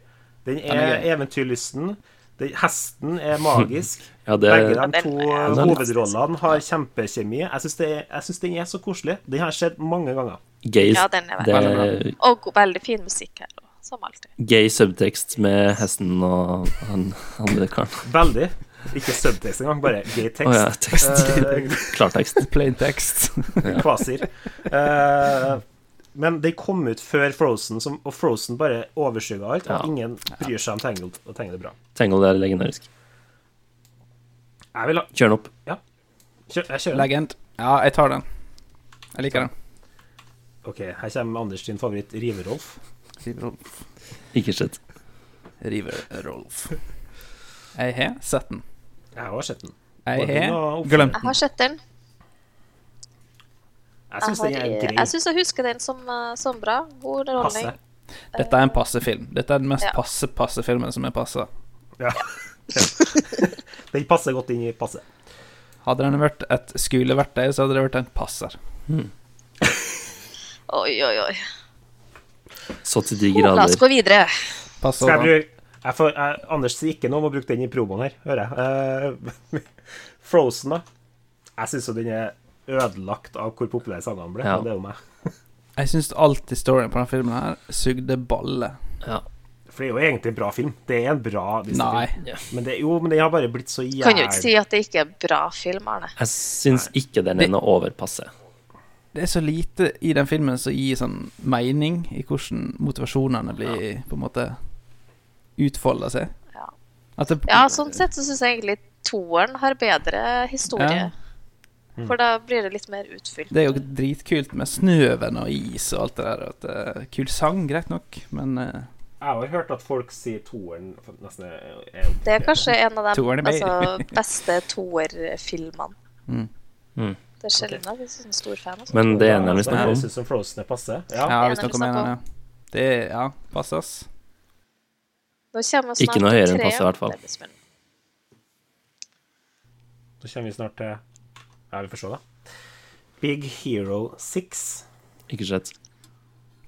Den er er gøy. eventyrlysten. Den, hesten er magisk. Ja, det, Begge de den to er eh, hovedrollene har kjempekjemi. Jeg syns det er- jeg syns den er så koselig. Den har jeg sett mange ganger. gay, Ja, den er det veldig er Og go- veldig fin musikk her, og som alltid. gay subtekst med hesten og han andre karen. Veldig. Ikke subtekst engang, bare gay Å ja, tekst. tekst. Eh, Klartekst. Plain text. Kvasir. Eh, men de kom ut før Frozen, som, og Frozen bare overskygger alt. Ja. Og ingen bryr seg om Tangled, og tegner det bra. Tangled er legendarisk. Jeg vil ha Kjør den opp. kjør, Jeg kjører. Legend. Ja, jeg tar den. Jeg liker den. OK, her kommer Anders sin favoritt, Rive-Rolf. River-Rolf. Ikke sett. River-Rolf. Jeg har sett den. Jeg har sett den. Jeg Både den har og oppfølgeren. glemt Jeg har sett den. Jeg Jeg, syns har, den er grei. jeg syns jeg husker den som, eh, som bra. God Passe. underholdning. Dette er en passe film. Dette er den mest Ja. passe passe filmen som er passa. Ja. Den passer godt inn i passe. Hadde den vært et skoleverktøy, så hadde det vært en passer. Oi, oi, oi. Så til de La oss grader. gå videre. Passer Skal jeg da. bruke jeg får, jeg, Anders sier ikke noe om å bruke den i promoen her, hører jeg. Eh, Frozen, da. Jeg syns jo den er ødelagt av hvor populær sangene ble, Ja. men det er jo meg. Jeg syns alt historien på denne filmen her sugde balle. Ja. For det er jo egentlig en bra film. Det er en bra Nei. Disney-film. Men det, jo, men den har bare blitt så jævlig Kan jo ikke si at det ikke er bra film, Arne. Jeg syns ikke den er noe overpasse. Det er så lite i den filmen som gir sånn mening i hvordan motivasjonene blir på en måte utfolda seg. Ja. At det, Ja, sånn sett så syns jeg egentlig toeren har bedre historie. Ja. For da blir det litt mer utfylt. det er jo dritkult med snøen og is og alt det der. og At, eh, kul sang, greit nok, men eh, Jeg har hørt at folk sier toeren nesten er, er Det er kanskje en av de Toeren er med. altså, beste toerfilmene. Mm. Mm. Det er sjelden jeg blir sånn stor fan. Altså. Men det ene er vi Så her snakker om. synes jeg Frozen er passe. Ja, Ja. det er vi det vi snakker om en snakker av dem. Det er Ja, pass oss. Nå kommer Ikke snart noe høyere enn tre. passe, i hvert fall. Det blir spennende. Da kommer vi snart til Ja, vi får se, da. Big Hero 6. Ikke sett.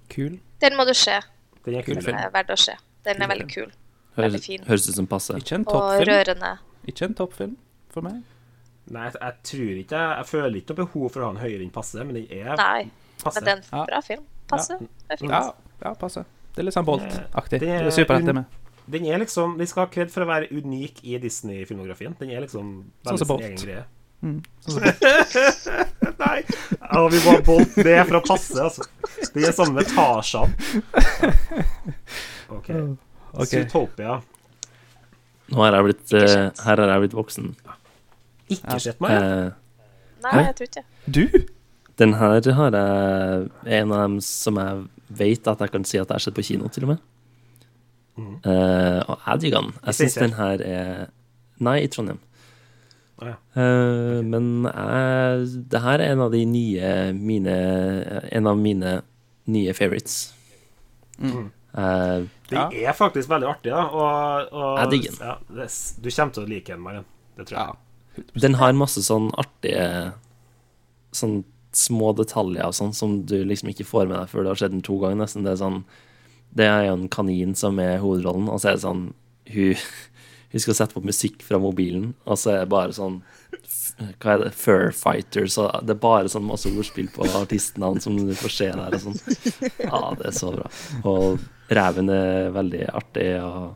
Kul. Den må du se. Den er Kul kul. film. Den er verdt å se. Den er veldig kul Høres, Veldig fin. høres ut som passe. Ikke en og toppfilm. rørende. Ikke en toppfilm for meg. Nei, jeg, jeg tror ikke jeg, jeg føler ikke noe behov for å ha den høyere enn passe, men den er Nei, passe. men det er en Ja. bra film. Passe. Det er fint. Ja, ja passer. Det er litt sånn Bolt-aktig. Det er- Mm. Det er superhett, det med. Den er liksom Den skal ha kred for å være unik i Disney-filmografien. Den er liksom Sånn veldig som sin Bolt. egen greie. Sånn som Bolt. Nei! Ja, vi må ha Bolt. Det er fra passe, altså. Det er samme med Tarzan. OK. Ok. Zootopia. Nå har jeg blitt, eh, her har jeg blitt voksen. Ikke sett meg. Eh, Nei, jeg tror ikke det. Du? den her har jeg er en av dem som jeg vet at jeg kan si at jeg Mhm. har sett på kino, til og med. Eh, og jeg digger den. Jeg syns Ikke den her er Nei, i Trondheim. Å ja. Eh, Men jeg, det her er en av de nye mine En av mine nye favorites. Mhm. Mm. Eh, Det er faktisk veldig artig, da. Og, og, Jeg digger den. Ja, det, s- du kommer til å like den, Maren. Det tror jeg. den har masse sånn artige Sånn små detaljer og sånn som du liksom ikke får med deg før du har sett den to ganger, nesten. Det er sånn Det er jo en kanin som er hovedrollen, og så er det sånn Hun, hun skal sette på musikk fra mobilen, og så er det bare sånn hva er det, Fur Fighters og Det er bare sånn masse ordspill på artistnavn som du får se der og sånn. Ja, det er så bra. Og reven er veldig artig, og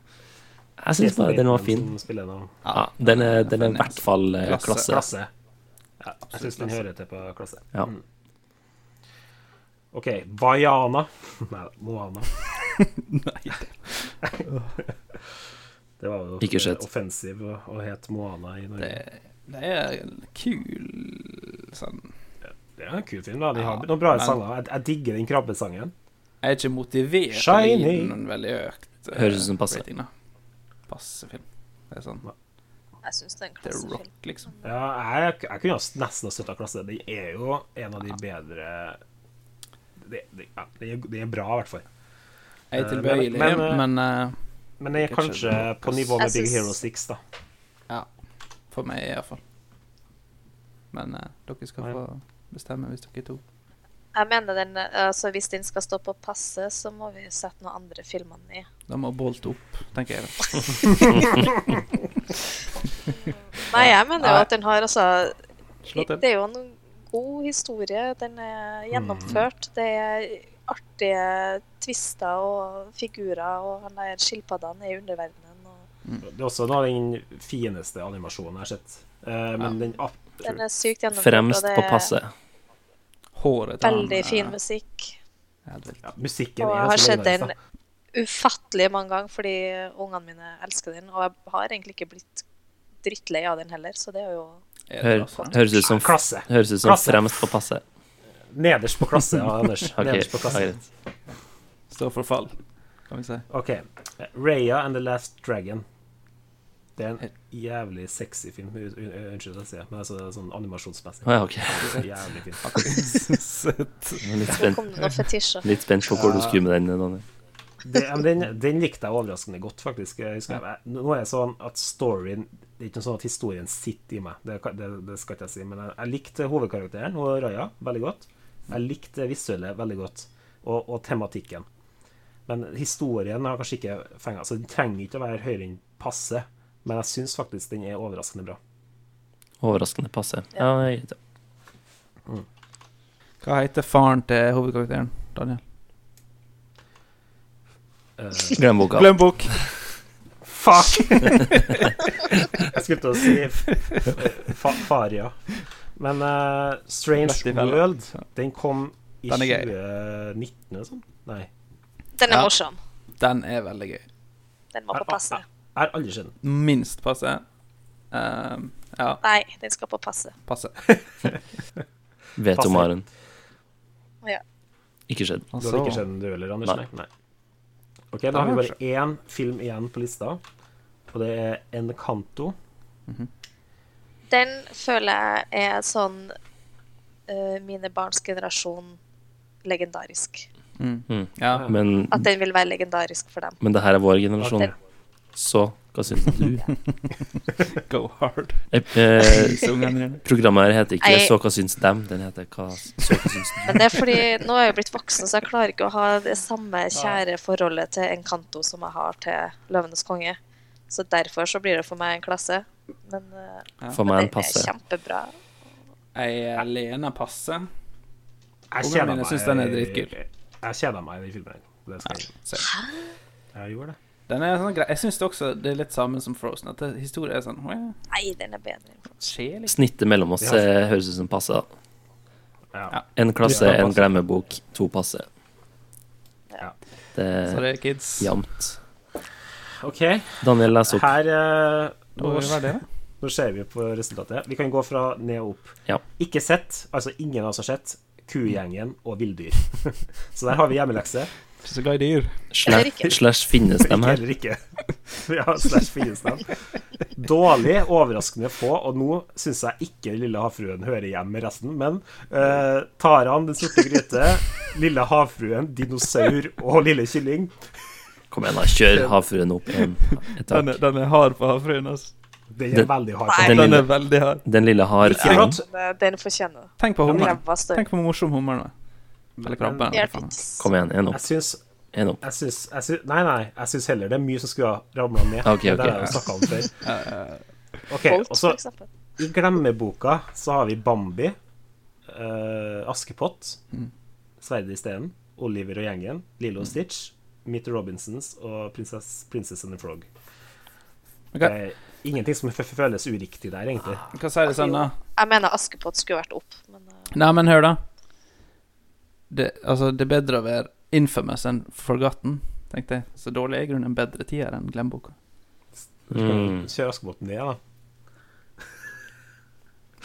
jeg syns bare den var fin. Som spiller den, Ja, den er, den er i hvert fall eh, Klasse. klasse. klasse. Ja, jeg syns den hører til på klasse. Ja. OK, Vaiana. Nei, Moana. Det var jo Ikke skjønt. offensiv å- å het Moana i Norge. Det, Det er en kul sånn er en kul film, da. De har Ja, noen bra men- sanger. Jeg, jeg digger den krabbesangen. Jeg er ikke motivert til å gi Shiny. den en veldig økt eh, Høres ut som passe. rating, da. Passe film. Det er sånn Jeg syns det er en Det er klassefilm. rock, liksom. Ja, jeg, jeg kunne ha nesten ha støtta klasse. Den er jo en av de bedre Det, det, ja, det, er, det er bra, i hvert fall. Jeg er Eh, tilbøyelig, men- men, men, eh, eh, Men det er kanskje Kanskje det- på nivå med Jeg Big syns- Hero 6, da. for meg iallfall. Men eh, dere skal Ja. få bestemme hvis dere to Jeg mener den, altså Hvis den skal stå på passe, så må vi sette noen andre filmer ned. Da må Bolt opp, tenker jeg. da. Nei, jeg mener jo Nei. at den har altså Slå til. Det er jo en god historie. Den er gjennomført. Mm. Det er artige twister og figurer, og han der skilpaddene er i underverdenen. Og Det er også noe av den fineste animasjonen jeg har sett. Eh, men den ah, den er sykt gjennomført. Fremst og det på passe. Håret er veldig fin eh, musikk. er helt vilt. ja, musikken Og altså, er jeg har ganske sett den legendarisk. ufattelig mange ganger fordi ungene mine elsker den. Og jeg har egentlig ikke blitt drittlei av den heller, så det er jo Er det Hør, altså? høres da. ut som, Klasse. høres ut som Klasse. fremst på passe. Nederst på klasse, ja, Anders. Ok, Nederst på klasse. ja, greit. Står for fall, kan vi si. OK. Raya and the Last Dragon. Det er en jævlig sexy film. Un- un- Unnskyld at jeg sier det, men altså, det er sånn animasjonsmessig. Å ja, ok. Jævlig fin. Søt. Jeg er Litt Nå spent, kom det noen fetisjer. litt spent på hvor du skulle med den. Daniel. det, ja, men den, den likte jeg overraskende godt, faktisk. Jeg husker jeg. Nå er det sånn at storyen Det er ikke noe sånn at historien sitter i meg, det, kan- det, det skal ikke jeg si. Men jeg, jeg likte hovedkarakteren og Raja veldig godt. Jeg likte det visuelle veldig godt, og, og tematikken. Men historien har kanskje ikke fenga, så den trenger ikke å være høyere enn passe. Men jeg syns faktisk den er overraskende bra. Overraskende passe. Ja, jeg er greit, ja. Hva heter faren til hovedkarakteren, Daniel? Eh, Glem boka. Glem bok! fuck! jeg skulle til å si f- fa Faria. Men eh, Lett i Strange fella. World Den kom i Den er gøy. 2019 eller sånn. Nei. Den er Ja. morsom. Den er veldig gøy. Den må Jeg- på passe. jeg- Jeg har aldri sett den. Minst passe. Ehm, ja, Nei, den skal på passe. passe. Vet Passe. om Maren. Ja. Ikke skjedd. Du har ikke sett den, du heller, Anders? Altså- Nei. Nei. Nei. Ok, Da har vi bare én film igjen på lista, og det er Encanto. Den føler jeg er sånn eh, mine barns generasjon legendarisk. Ja, Men, At den vil være legendarisk for dem. men det her er vår generasjon, så hva syns du? go hard. Eh, eh, Disse ungene dine. Programmet her heter ikke Nei. 'Så hva syns dem', den heter hva, 'Så hva syns du'. Men det er fordi nå er jeg blitt voksen, så jeg klarer ikke å ha det samme kjære forholdet til Encanto som jeg har til Løvenes konge. Så derfor så blir det for meg en klasse. Men eh, For meg det en passe. er kjempebra. Jeg lener passe. Jeg Ungene kjeder mine meg- syns den er dritkul. Jeg kjeder meg i den filmen. her. Det skal jeg Så Jeg gjorde det. Den er sånn grei. Jeg syns det også det er litt samme som Frozen. At det- historien er sånn «Åh, Nei, den er bedre. enn ja, skjer liksom. Snittet mellom oss eh, høres ut som passe. da. Ja. En klasse, Ja, en passe. glemmebok, to passe. Ja. Det er Sorry, kids. jevnt. OK. Daniel, les opp. Her eh, Da må nå, vi være det, da. nå ser vi på resultatet. Vi kan gå fra ned og opp. Ja. Ikke sett, altså ingen av oss har sett, Kugjengen og villdyr. Så der har vi hjemmelekse. Ikke så glad i dyr. Slash, Eller ikke. slash finnes dem Ikke her? eller ikke. ja, slash fiendesnavn. Dårlig, overraskende få, og nå syns jeg ikke Lille havfruen hører hjemme med resten, men eh, Taran, Den sorte gryte, Lille havfruen, Dinosaur og Lille kylling. Kom igjen, da. Kjør havfruen opp en Den, etasje. er- den er hard på havfruen, altså. Den er Den- veldig hard. Nei. på. Den Den er lille, veldig hard. den lille Ikke harfruen. sant? Men, eh, Den fortjener det. Tenk på hummeren. Ræva større. Tenk på hvor morsom hummeren var. Eller krabben. eller hva faen. Hjelpiks. Kom igjen, en opp. Jeg syns En opp. jeg syns, jeg syns, nei, nei, jeg syns heller det er mye som skulle ha ramla ned. Ok, men ok. Det har jeg jo snakka om før. Ok, Bolt, og for så eksempel. I glemmeboka så har vi Bambi, eh, Askepott, Sverdet i steinen, Oliver og gjengen, Lilo og Stitch, Meet the Robinsons og Princess, Princess and the Frog. Ok. Det er ingenting som f- f- føles uriktig der, egentlig. Hva sier det sånn, da? Jeg mener Askepott skulle vært opp, men eh, Nei, men hør, da. Det, altså, det er bedre å være infamous enn forgotten, tenkte jeg. Så dårlig er i grunnen en bedre tier enn glemmeboka. Mm. Kjør Askepott ned, da.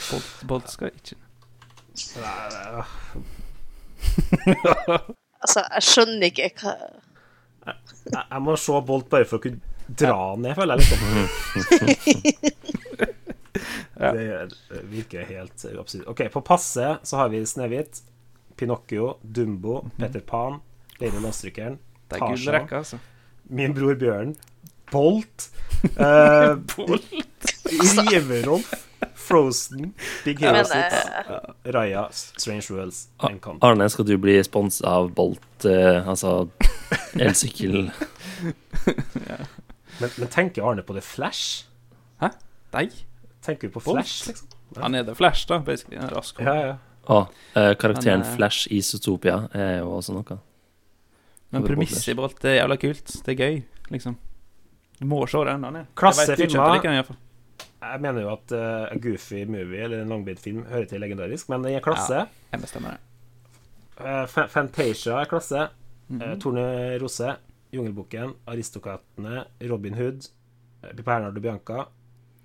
Bolt, Bolt skal ikke altså, jeg skjønner ikke hva Jeg, jeg må se Bolt bare for å kunne dra han ned, føler jeg. Liksom. Det virker helt absurd. OK, på passe så har vi Snehvit, Pinocchio, Dumbo, Peter Pan, Lady Landstrykeren, Mhm. Det er gul Tarzan, rekke, altså. Min bror Bjørn, Bolt, eh, Altså. Riverolf, Frozen, Big Hero Men 6, eh, Raya, Strange Worlds, Ah, Encom. Ah, Arne, skal du bli sponsa av Bolt, eh, altså elsykkel Men, men tenker Arne på det Flash? Nei. Tenker du på Bolt? Flash, liksom? Han er The Flash, da, basically. En rask Ja, ja. Å, eh, karakteren Han er- Flash i Zootopia er jo også noe. Men premisset i Bolt er jævla kult. Det er gøy, liksom. Du må se den. Han er Klasse Jeg vet ikke filmer. om jeg liker den, i hvert fall. Jeg mener jo at eh, A Goofy Movie eller en langbitfilm hører til legendarisk, men den er klasse. Jeg bestemmer det. Eh, Fa- Fantasia er klasse. Mhm. Eh, Torne Rose, Jungelboken, Aristokratene, Robin Hood, eh, Bernard og Bianca,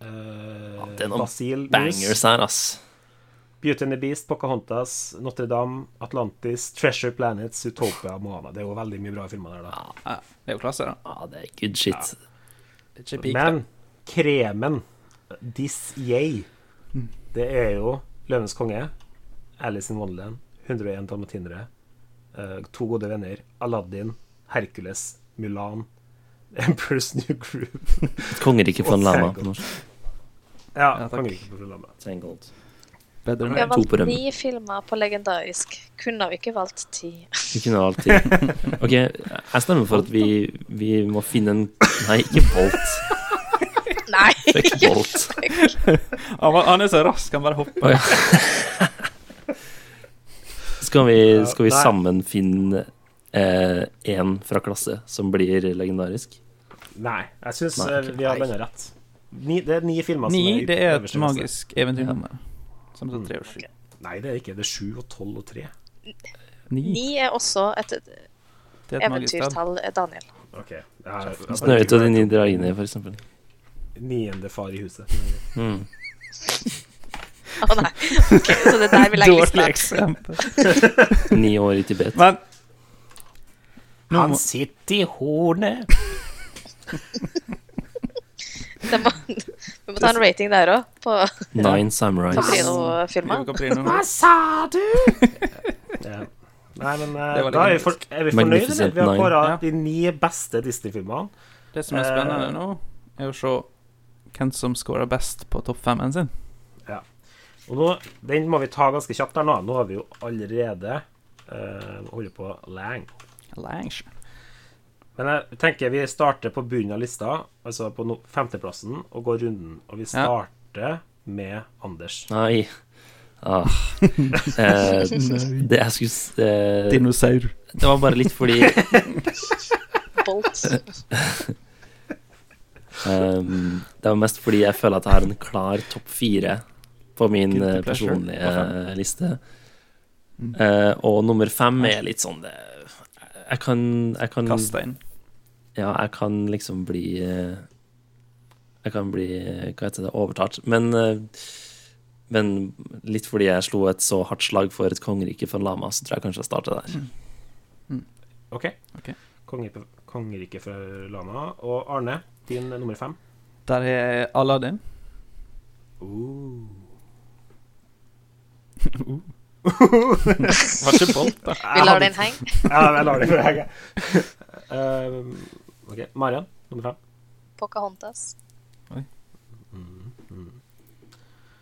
uh, det er noen Basil, Bangers Moose, her, ass. Beauty and the Beast, Pocahontas, Notre-Dame, Atlantis, Treasure Planets, Utopia og Moana. Det er jo veldig mye bra filmer der, da. Ja, det er jo klasse, da. Ja, Ah, det er good shit. Ikke peak, da. Men kremen, This Yay, det er jo Løvenes konge, Alice in Wonderland, 101 dalmatinere, eh, To gode venner, Aladdin, Hercules, Mulan, Emperor's New Group Et kongerike for en Og lama Tangled. på norsk. Ja, Ja, takk. kongeriket på programmet. Tangled. Bedre enn vi har to på valgt dem. ni filmer på legendarisk. Kunne vi ikke valgt ti? Vi kunne alltid OK, jeg stemmer for at vi, vi må finne en Nei, ikke Bolt. Nei! Fuck Bolt. Han, var- han er så rask, han bare hopper. Å, ja. Skal vi, skal vi Nei. sammen finne én fra klasse som blir legendarisk? Nei, jeg syns Nei, ok. vi har Nei. denne rett. Ni, det er ni filmer Ni, i det er et øverste liste. magisk eventyrnummer. Som tar tre og sju. Nei, det er ikke. Det er sju og tolv og tre. Ni. Ni er også et Det er et magisk tall. eventyrtall, Daniel. Ok. jeg har- Snøhvit og de ni dragene, for eksempel. Niende far i huset. Mm. Å nei. Ok, så det er der vi legger Dårlig lista. eksempel. Ni år i Tibet. Men nå må, sitter i hornet. Det må- Vi må ta en rating der òg, på Nine Samurais. Caprino-filmer. Caprino. sa du? ja. Nei, men eh, Det var da er vi, legendarisk. for, er vi fornøyde, eller? Magnificent Vi har Nine. kåra Ja. de ni beste Disney-filmene. Det som er spennende nå, er å se hvem som scorer best på topp fem-en sin. Og nå, den må vi ta ganske kjapt der nå. Nå har vi jo allerede uh, holdt på lenge. Lange. Men jeg tenker vi starter på bunnen av lista, altså på no- femteplassen, og går runden. Og vi starter med Anders. Nei. Ah. Eh, det jeg skulle s- eh, Dinosaur. Det var bare litt fordi Bolt. ehm, Det var mest fordi jeg føler at jeg har en klar topp fire på min Guilty eh, pleasure. Mm. personlige Og fem. eh, liste. Eh, og nummer fem er litt sånn det Jeg kan, jeg kan Kast deg inn. Ja, jeg kan liksom bli eh, Jeg kan bli eh, Hva heter det? Overtatt. Men, eh, men litt fordi jeg slo et så hardt slag for et kongerike for en lama, så tror jeg kanskje jeg starter der. OK? Ok. Kongerike, kongerike fra Lana. Og Arne, Din eh, nummer fem. Der er Aladdin. Har ikke bolt, da. Vi lar den henge. Ja, jeg lar det for deg. Um, OK. Marian, nummer fem. Pocahontas.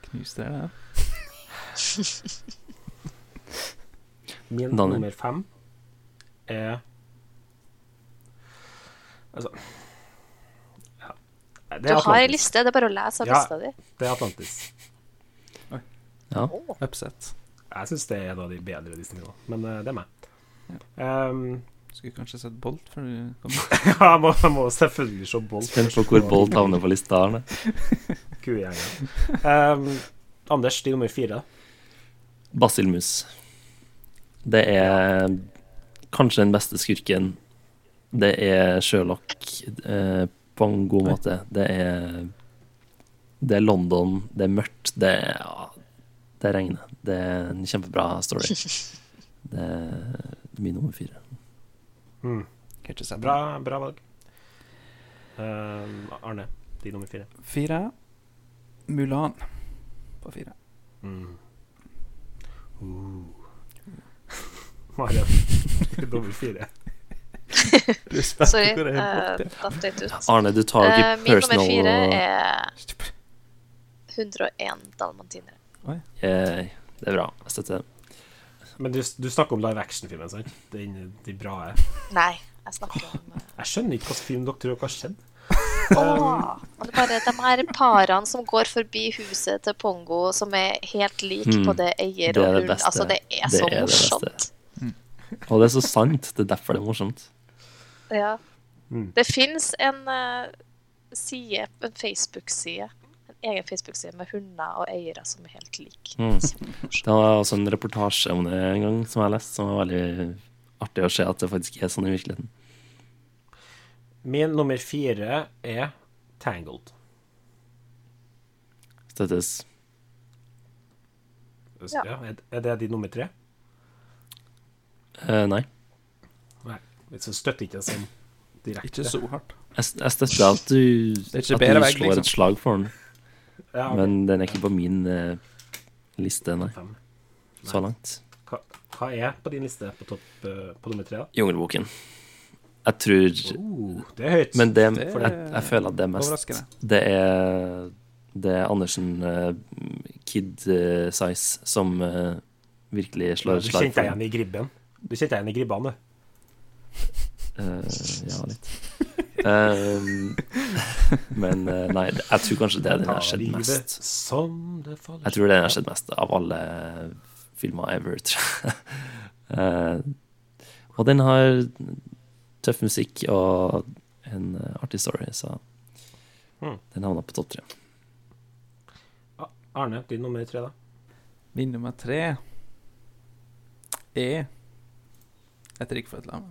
Knuste det der. Min Daniel. nummer fem er Altså ja. Det Du er har ei Atlantis. liste, det er bare å lese av Ja. lista di. Det er Atlantis. Ja. Å, Upset. Jeg syns det er en av de bedre Disney-filmene, men eh, det er meg. Um, Skulle kanskje sett Bolt før du kom. ja, jeg må, jeg må selvfølgelig se Bolt. Spent på hvor Bolt havner på lista. her, da. Kugjengen. Um, Anders, de nummer fire. Basilmus. Det er kanskje den beste skurken. Det er Sherlock eh, på en god måte. Det er Det er London, det er mørkt, det er ja, Det regner. Det er en kjempebra story. Det er min nummer fire. Mm. Kan ikke se Bra, bra valg. Um, Arne, de nummer fire. Fire. Mulan på fire. Mm. Uh. Marian, nummer fire. Du er spent Sorry, hvor det er eh, Bolt, ja. datt litt ut. Arne, du tar jo ikke Eh, min nummer personal fire og er 101 dalmatinere. Eh, Det er bra. Jeg støtter det. Men du, du snakker om live action-filmen, sant? Den, de bra Nei, jeg snakker om eh, Jeg skjønner ikke hvilken film dere tror dere har sett. Um. Ah. Åh, men det er bare de her parene som går forbi huset til Pongo, som er helt lik Mm, på det eier det er og det hund. beste. Altså, det er Det så er det morsomt. beste. Og det er så sant. Det er derfor det er morsomt. Ja. Mm. Det fins en eh, side, en Facebook-side, en egen Facebook-side med hunder og eiere som er helt like. Mm. Det var også en reportasje om det en gang som jeg leste, som var veldig artig å se at det faktisk er sånn i virkeligheten. Min nummer fire er Tangled. Støttes. Ja. er- er det din nummer tre? Eh, nei. Nei. Så støtter ikke det sånn direkte. Ikke så hardt. Jeg, s- jeg støtter at du, er at ikke du bedre vei, slår liksom. et slag for den, Ja, ok. men den er ikke på min eh, liste, nei. Fem. Så langt. Hva, hva er på din liste på, topp, eh, på nummer tre? da? Jungelboken. Jeg tror Oh, det er høyt. Men det, Det er jeg, jeg føler at det er mest overraskende. Det er, det er Andersen eh, Kid eh, Size som eh, virkelig slår du et kjente slag deg for den. igjen i Gribben. Du kjente deg igjen i Gribbene. Eh, ja, litt. Ehm, men eh, nei, jeg tror kanskje det er den jeg har sett mest. Som det faller. Jeg tror det er den jeg har sett mest av alle filmer ever, tror jeg. Eh, og den har tøff musikk og en eh, artig story, så Hmm. Mm. den havna på topp tre. Arne, din nummer tre, da? Min nummer tre er et rigg for et lam.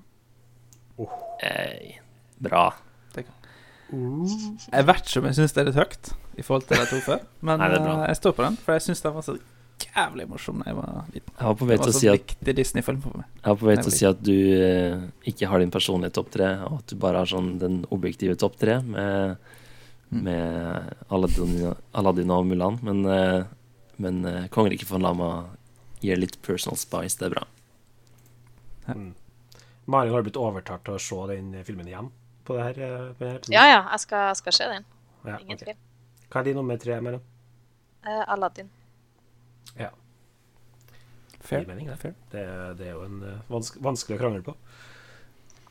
Hey, bra. Jeg vet ikke om jeg syns det er litt høyt i forhold til de to før, men Nei, det er bra. eh, jeg står på den, for jeg syns den var så jævlig morsom da jeg var liten. Jeg var på vei Det til var å så si at, viktig Disney-film for meg. jeg var på vei til å Nemlig. si at du eh, ikke har din personlige topp tre, og at du bare har sånn den objektive topp tre med, Mm. med Aladdin, Aladdin og Mulan. Men, eh, men eh, Kongeriket von Lama gir litt personal spice, det er bra. Marion Mm. har blitt overtalt til å se den filmen igjen på det her. eh, På det her episoden. Ja ja, jeg skal, jeg skal se den. Ja, Ingen ok. tvil. Hva er din nummer tre, Marion? Eh, Aladdin. Ja, Fair. Gir mening, det. Fair. det, er- det er jo en eh, vanske, vanskelig å krangle på.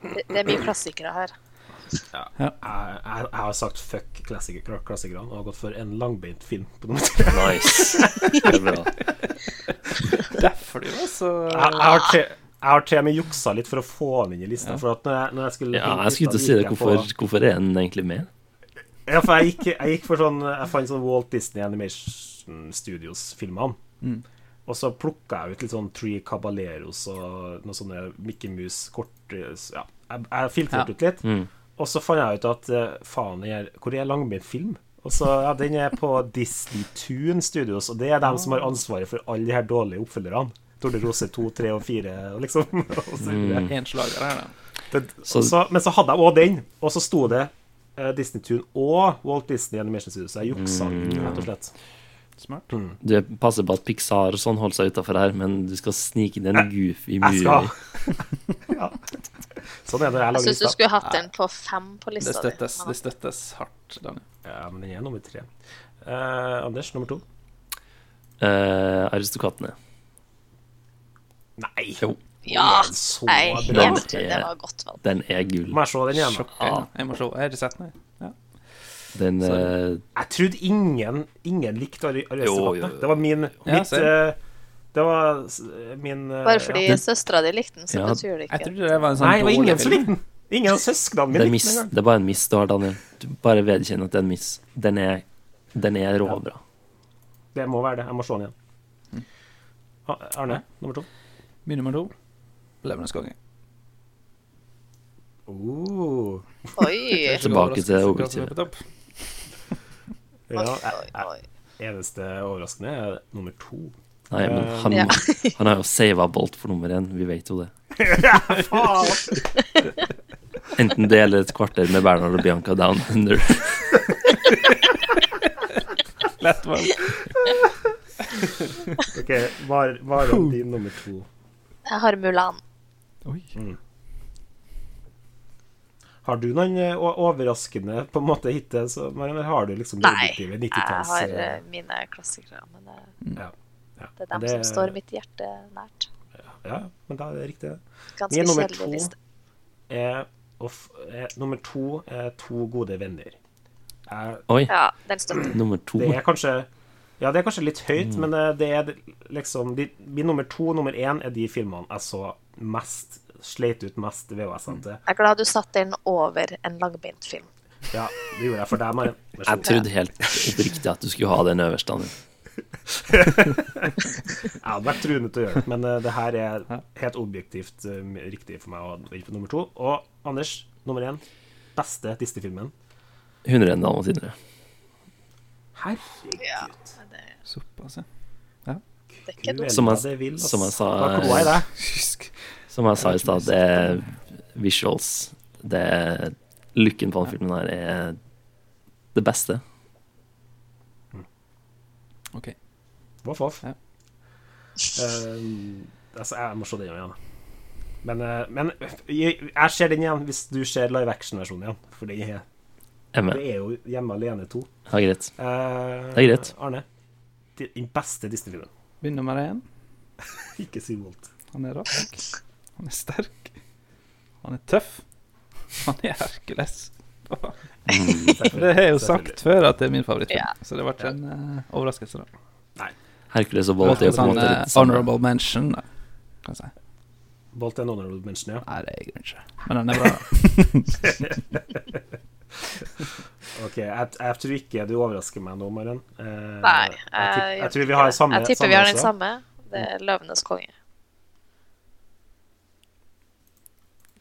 Det, det er mye klassikere her. Jeg, jeg, jeg har sagt fuck klassiker- kla- klassikerne og har gått for en langbeint film på nummer tre. Nice. Det er bra. Derfor du var så Jeg, jeg har tre jeg har til og med juksa litt for å få han inn i lista. For at når jeg, når jeg skulle Ja, hente jeg skulle lista, ikke si gikk det. jeg Hvorfor, på- hvorfor er den egentlig med? Ja, for jeg gikk, jeg gikk for sånn Jeg fant sånn Walt Disney Animation Studios-filmene. Mm. Og så plukka jeg ut litt sånn Tree Cabaleros og noen sånne Mickey Mouse-kort Ja, jeg, jeg filtrerte Ja. ut litt. Mm. Og så fant jeg ut at eh, faen, jeg, er- hvor er langbeintfilm? Og så, ja, Den er på Disney Tune Studios, og det er dem som har ansvaret for alle de her dårlige oppfølgerne. Torne Rose 2, 3 og 4, og liksom. Og så videre. En slager her, da. Det, Så- så, men så hadde jeg òg den, og så sto det eh, Disney Tune og Walt Disney Animation Studios. Jeg juksa Mm, rett og slett. Smart. Du passer på at Pixar og sånn holder seg utafor her, men du skal snike inn en goofy Jeg skal movie. ja. Sånn er det når jeg Jeg lager syns du lista. skulle hatt den på fem på Det lista di. støttes, men- det støttes hardt, Daniel. Ja, men den er nummer tre. Eh, Anders, nummer to? Eh, Aristokatene. Nei. Jo. Ja! Den er så Jeg er bra. helt enig. Det var godt valg. Den er gull. Må jeg se den igjen? da? Sjokkerende. ah. Jeg må se. Jeg har ikke sett den. jeg. Ja. Den eh, Jeg trodde ingen, ingen likte Ari- Jo, jo, Aristokratene. jo. Det var min mitt, same. eh, Det var s- min eh, Bare fordi ja. søstera di likte den, så Ja, betyr det Jeg ikke trodde det var en sånn Nei, det var ingen som film. likte den. Ingen av søsknene det, mine er likte miss, den engang. det er bare en miss du har, Daniel. Du bare vedkjenn at det er en miss. Den er, den er råbra. Det må være det. Jeg må se den igjen. Mm. Ah, Arne, nummer to. Min nummer to. Løvenes konge. Oh. Oi! Tilbake til Overraskelse- Ja, Oi, jeg- oi. jeg- eneste overraskende er nummer to. Nei, men Eh, han, Ja. han har jo sava Bolt for nummer én, vi vet jo det. Enten det eller et kvarter med Bernard og Bianca Down Under. Lett valg. Ok, var, var om din nummer to? Jeg har Mulan. Har du noen eh, o- overraskende på en måte hittil? så- men Har du liksom det Nei, objektive jeg har 90-talls eh, eh, mine klassikere. Men det, ja, ja. det er dem Det- som står mitt hjerte nært. Ja, men da er det riktig. det. Ganske Min nummer kjedelig to liste. er, og f- er Nummer to er To gode venner. Jeg, Oi, Ja, den støtter. nummer to. det er kanskje Ja, det er kanskje litt høyt, men eh, det er liksom de, Min nummer to nummer én er de filmene jeg så mest Sleit ut mest VHS-ene til. Jeg er glad du satte den over en langbeintfilm. Ja, det gjorde jeg for deg, Maren. Vær så Jeg god. trodde helt oppriktig at du skulle ha den øverst, Daniel. Jeg hadde vært truende til å gjøre det, men eh, det her er helt objektivt eh, riktig for meg å gi på nummer to. Og Anders, nummer én. Beste Disney-filmen. 101 dalmatinere. Herregud. Ja, Gud, men det, Såpass, ja. det er ikke dumt. Som jeg- det vil, ass. som jeg sa, Hva kloa i det? Husk. Som jeg sa i stad, det er visuals. Det er Looken på den filmen her er det beste. Ok. Voff, voff. Ja. Eh, altså, jeg må se den igjen. da. Men, eh, men jeg, jeg ser den igjen hvis du ser live action-versjonen igjen. For det er, Jeg er det med. er jo Hjemme alene 2. Ja, greit. Eh, Det er greit. Arne. Den beste Disney-filmen. Min nummer én. Ikke si Walt. Han er rask. Han er sterk. Han er tøff. Han er Hercules. Det har jeg jo sagt før at det er min favorittfilm, Ja. så det ble en eh, overraskelse. da Hercules og Det Bolt ble en er jo på en sånn måte eh, litt samme. honorable mention, da, kan jeg si. Bolt er en honorable mention, ja. Nei, det er jeg ikke. Men han er bra. da. Ok, jeg, jeg tror ikke du overrasker meg nå, Maren. Eh, Nei, jeg, eh, tipp, jeg, jeg tror vi har samme. Jeg tipper vi har samme den også. samme. Det er 'Løvenes konge'.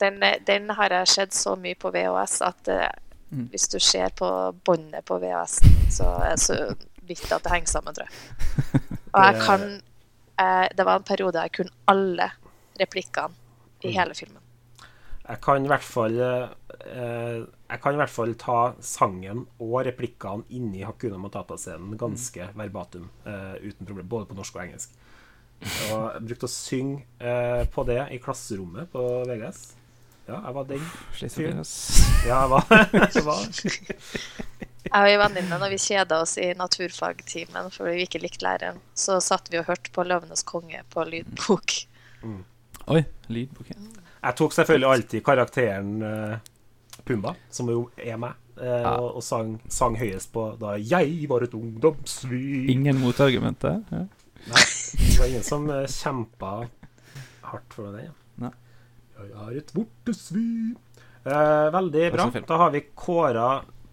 Den, eh, den har jeg sett så mye på VHS at eh, Mm. hvis du ser på båndet på VHS, så er det så vidt at det henger sammen, tror jeg. Og jeg kan eh, Det var en periode jeg kunne alle replikkene Mm. i hele filmen. Jeg kan i hvert fall eh, Jeg kan i hvert fall ta sangen og replikkene inni Hakuna Matata-scenen ganske verbatum, eh, uten problem, både på norsk og engelsk. Og jeg brukte å synge eh, på det i klasserommet på VGS. Ja, jeg var den. Sliter med det, ass. Ja, jeg var, jeg var. Jeg og en venninne, når vi kjeda oss i naturfagtimen fordi vi ikke likte læreren, så satt vi og hørte på 'Løvenes konge' på lydbok. Oi, lydbok. ja. Jeg tok selvfølgelig alltid karakteren eh, Pumba, som jo er meg, eh, og, og sang, sang høyest på da jeg var et ungdomssvin. Ingen motargumenter. Ja. Nei, det var ingen som eh, kjempa hardt for det. ja. Nei. Jeg er et vortesvin. Eh, veldig bra. Også film. Da har vi kåra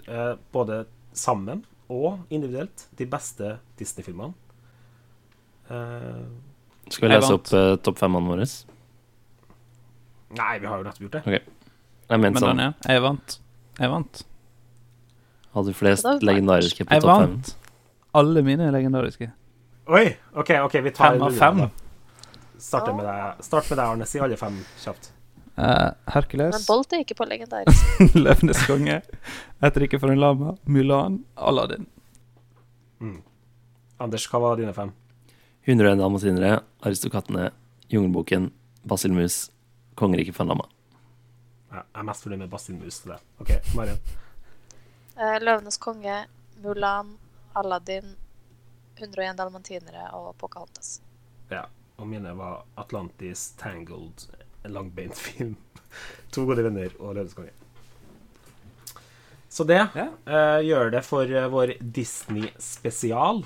eh, både sammen og individuelt de beste Disney-filmene. Eh, Skal vi Jeg lese vant. opp eh, topp femmene våre? nei, vi har jo nettopp gjort det. Jeg Men mente sånn. Daniel, jeg vant. Jeg vant. Hadde flest Da vant. legendariske på Jeg topp fem. vant alle mine legendariske. Oi! OK, ok, vi tar Fem av runden, fem. da. Starter med deg, start med deg, Arne. Si alle fem kjapt. Eh, Men Hercules, Bolt er ikke på legendarisk. Løvenes konge, Et rike for en lama, Mulan, Aladdin. Anders, hva var dine fem? 101 dalmatinere, Aristokattene, Jungelboken, Basilmus, Kongeriket Fanlama. Jeg er mest fornøyd med Bastin Mus til det. OK, Marian. Eh, Løvenes konge, Mulan, Aladdin, 101 dalmantinere og Pocahontas. Ja. Og mine var Atlantis, Tangled, en langbeint film, To gode venner og Løvenes konge. Så det Ja. eh, gjør det for eh, vår Disney-spesial.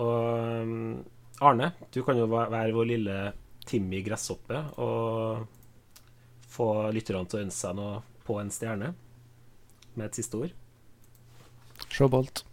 Og mm, Arne, du kan jo væ- være vår lille Timmy Gresshoppe og få lytterne til å ønske seg noe på en stjerne med et siste ord. Sjåbolt.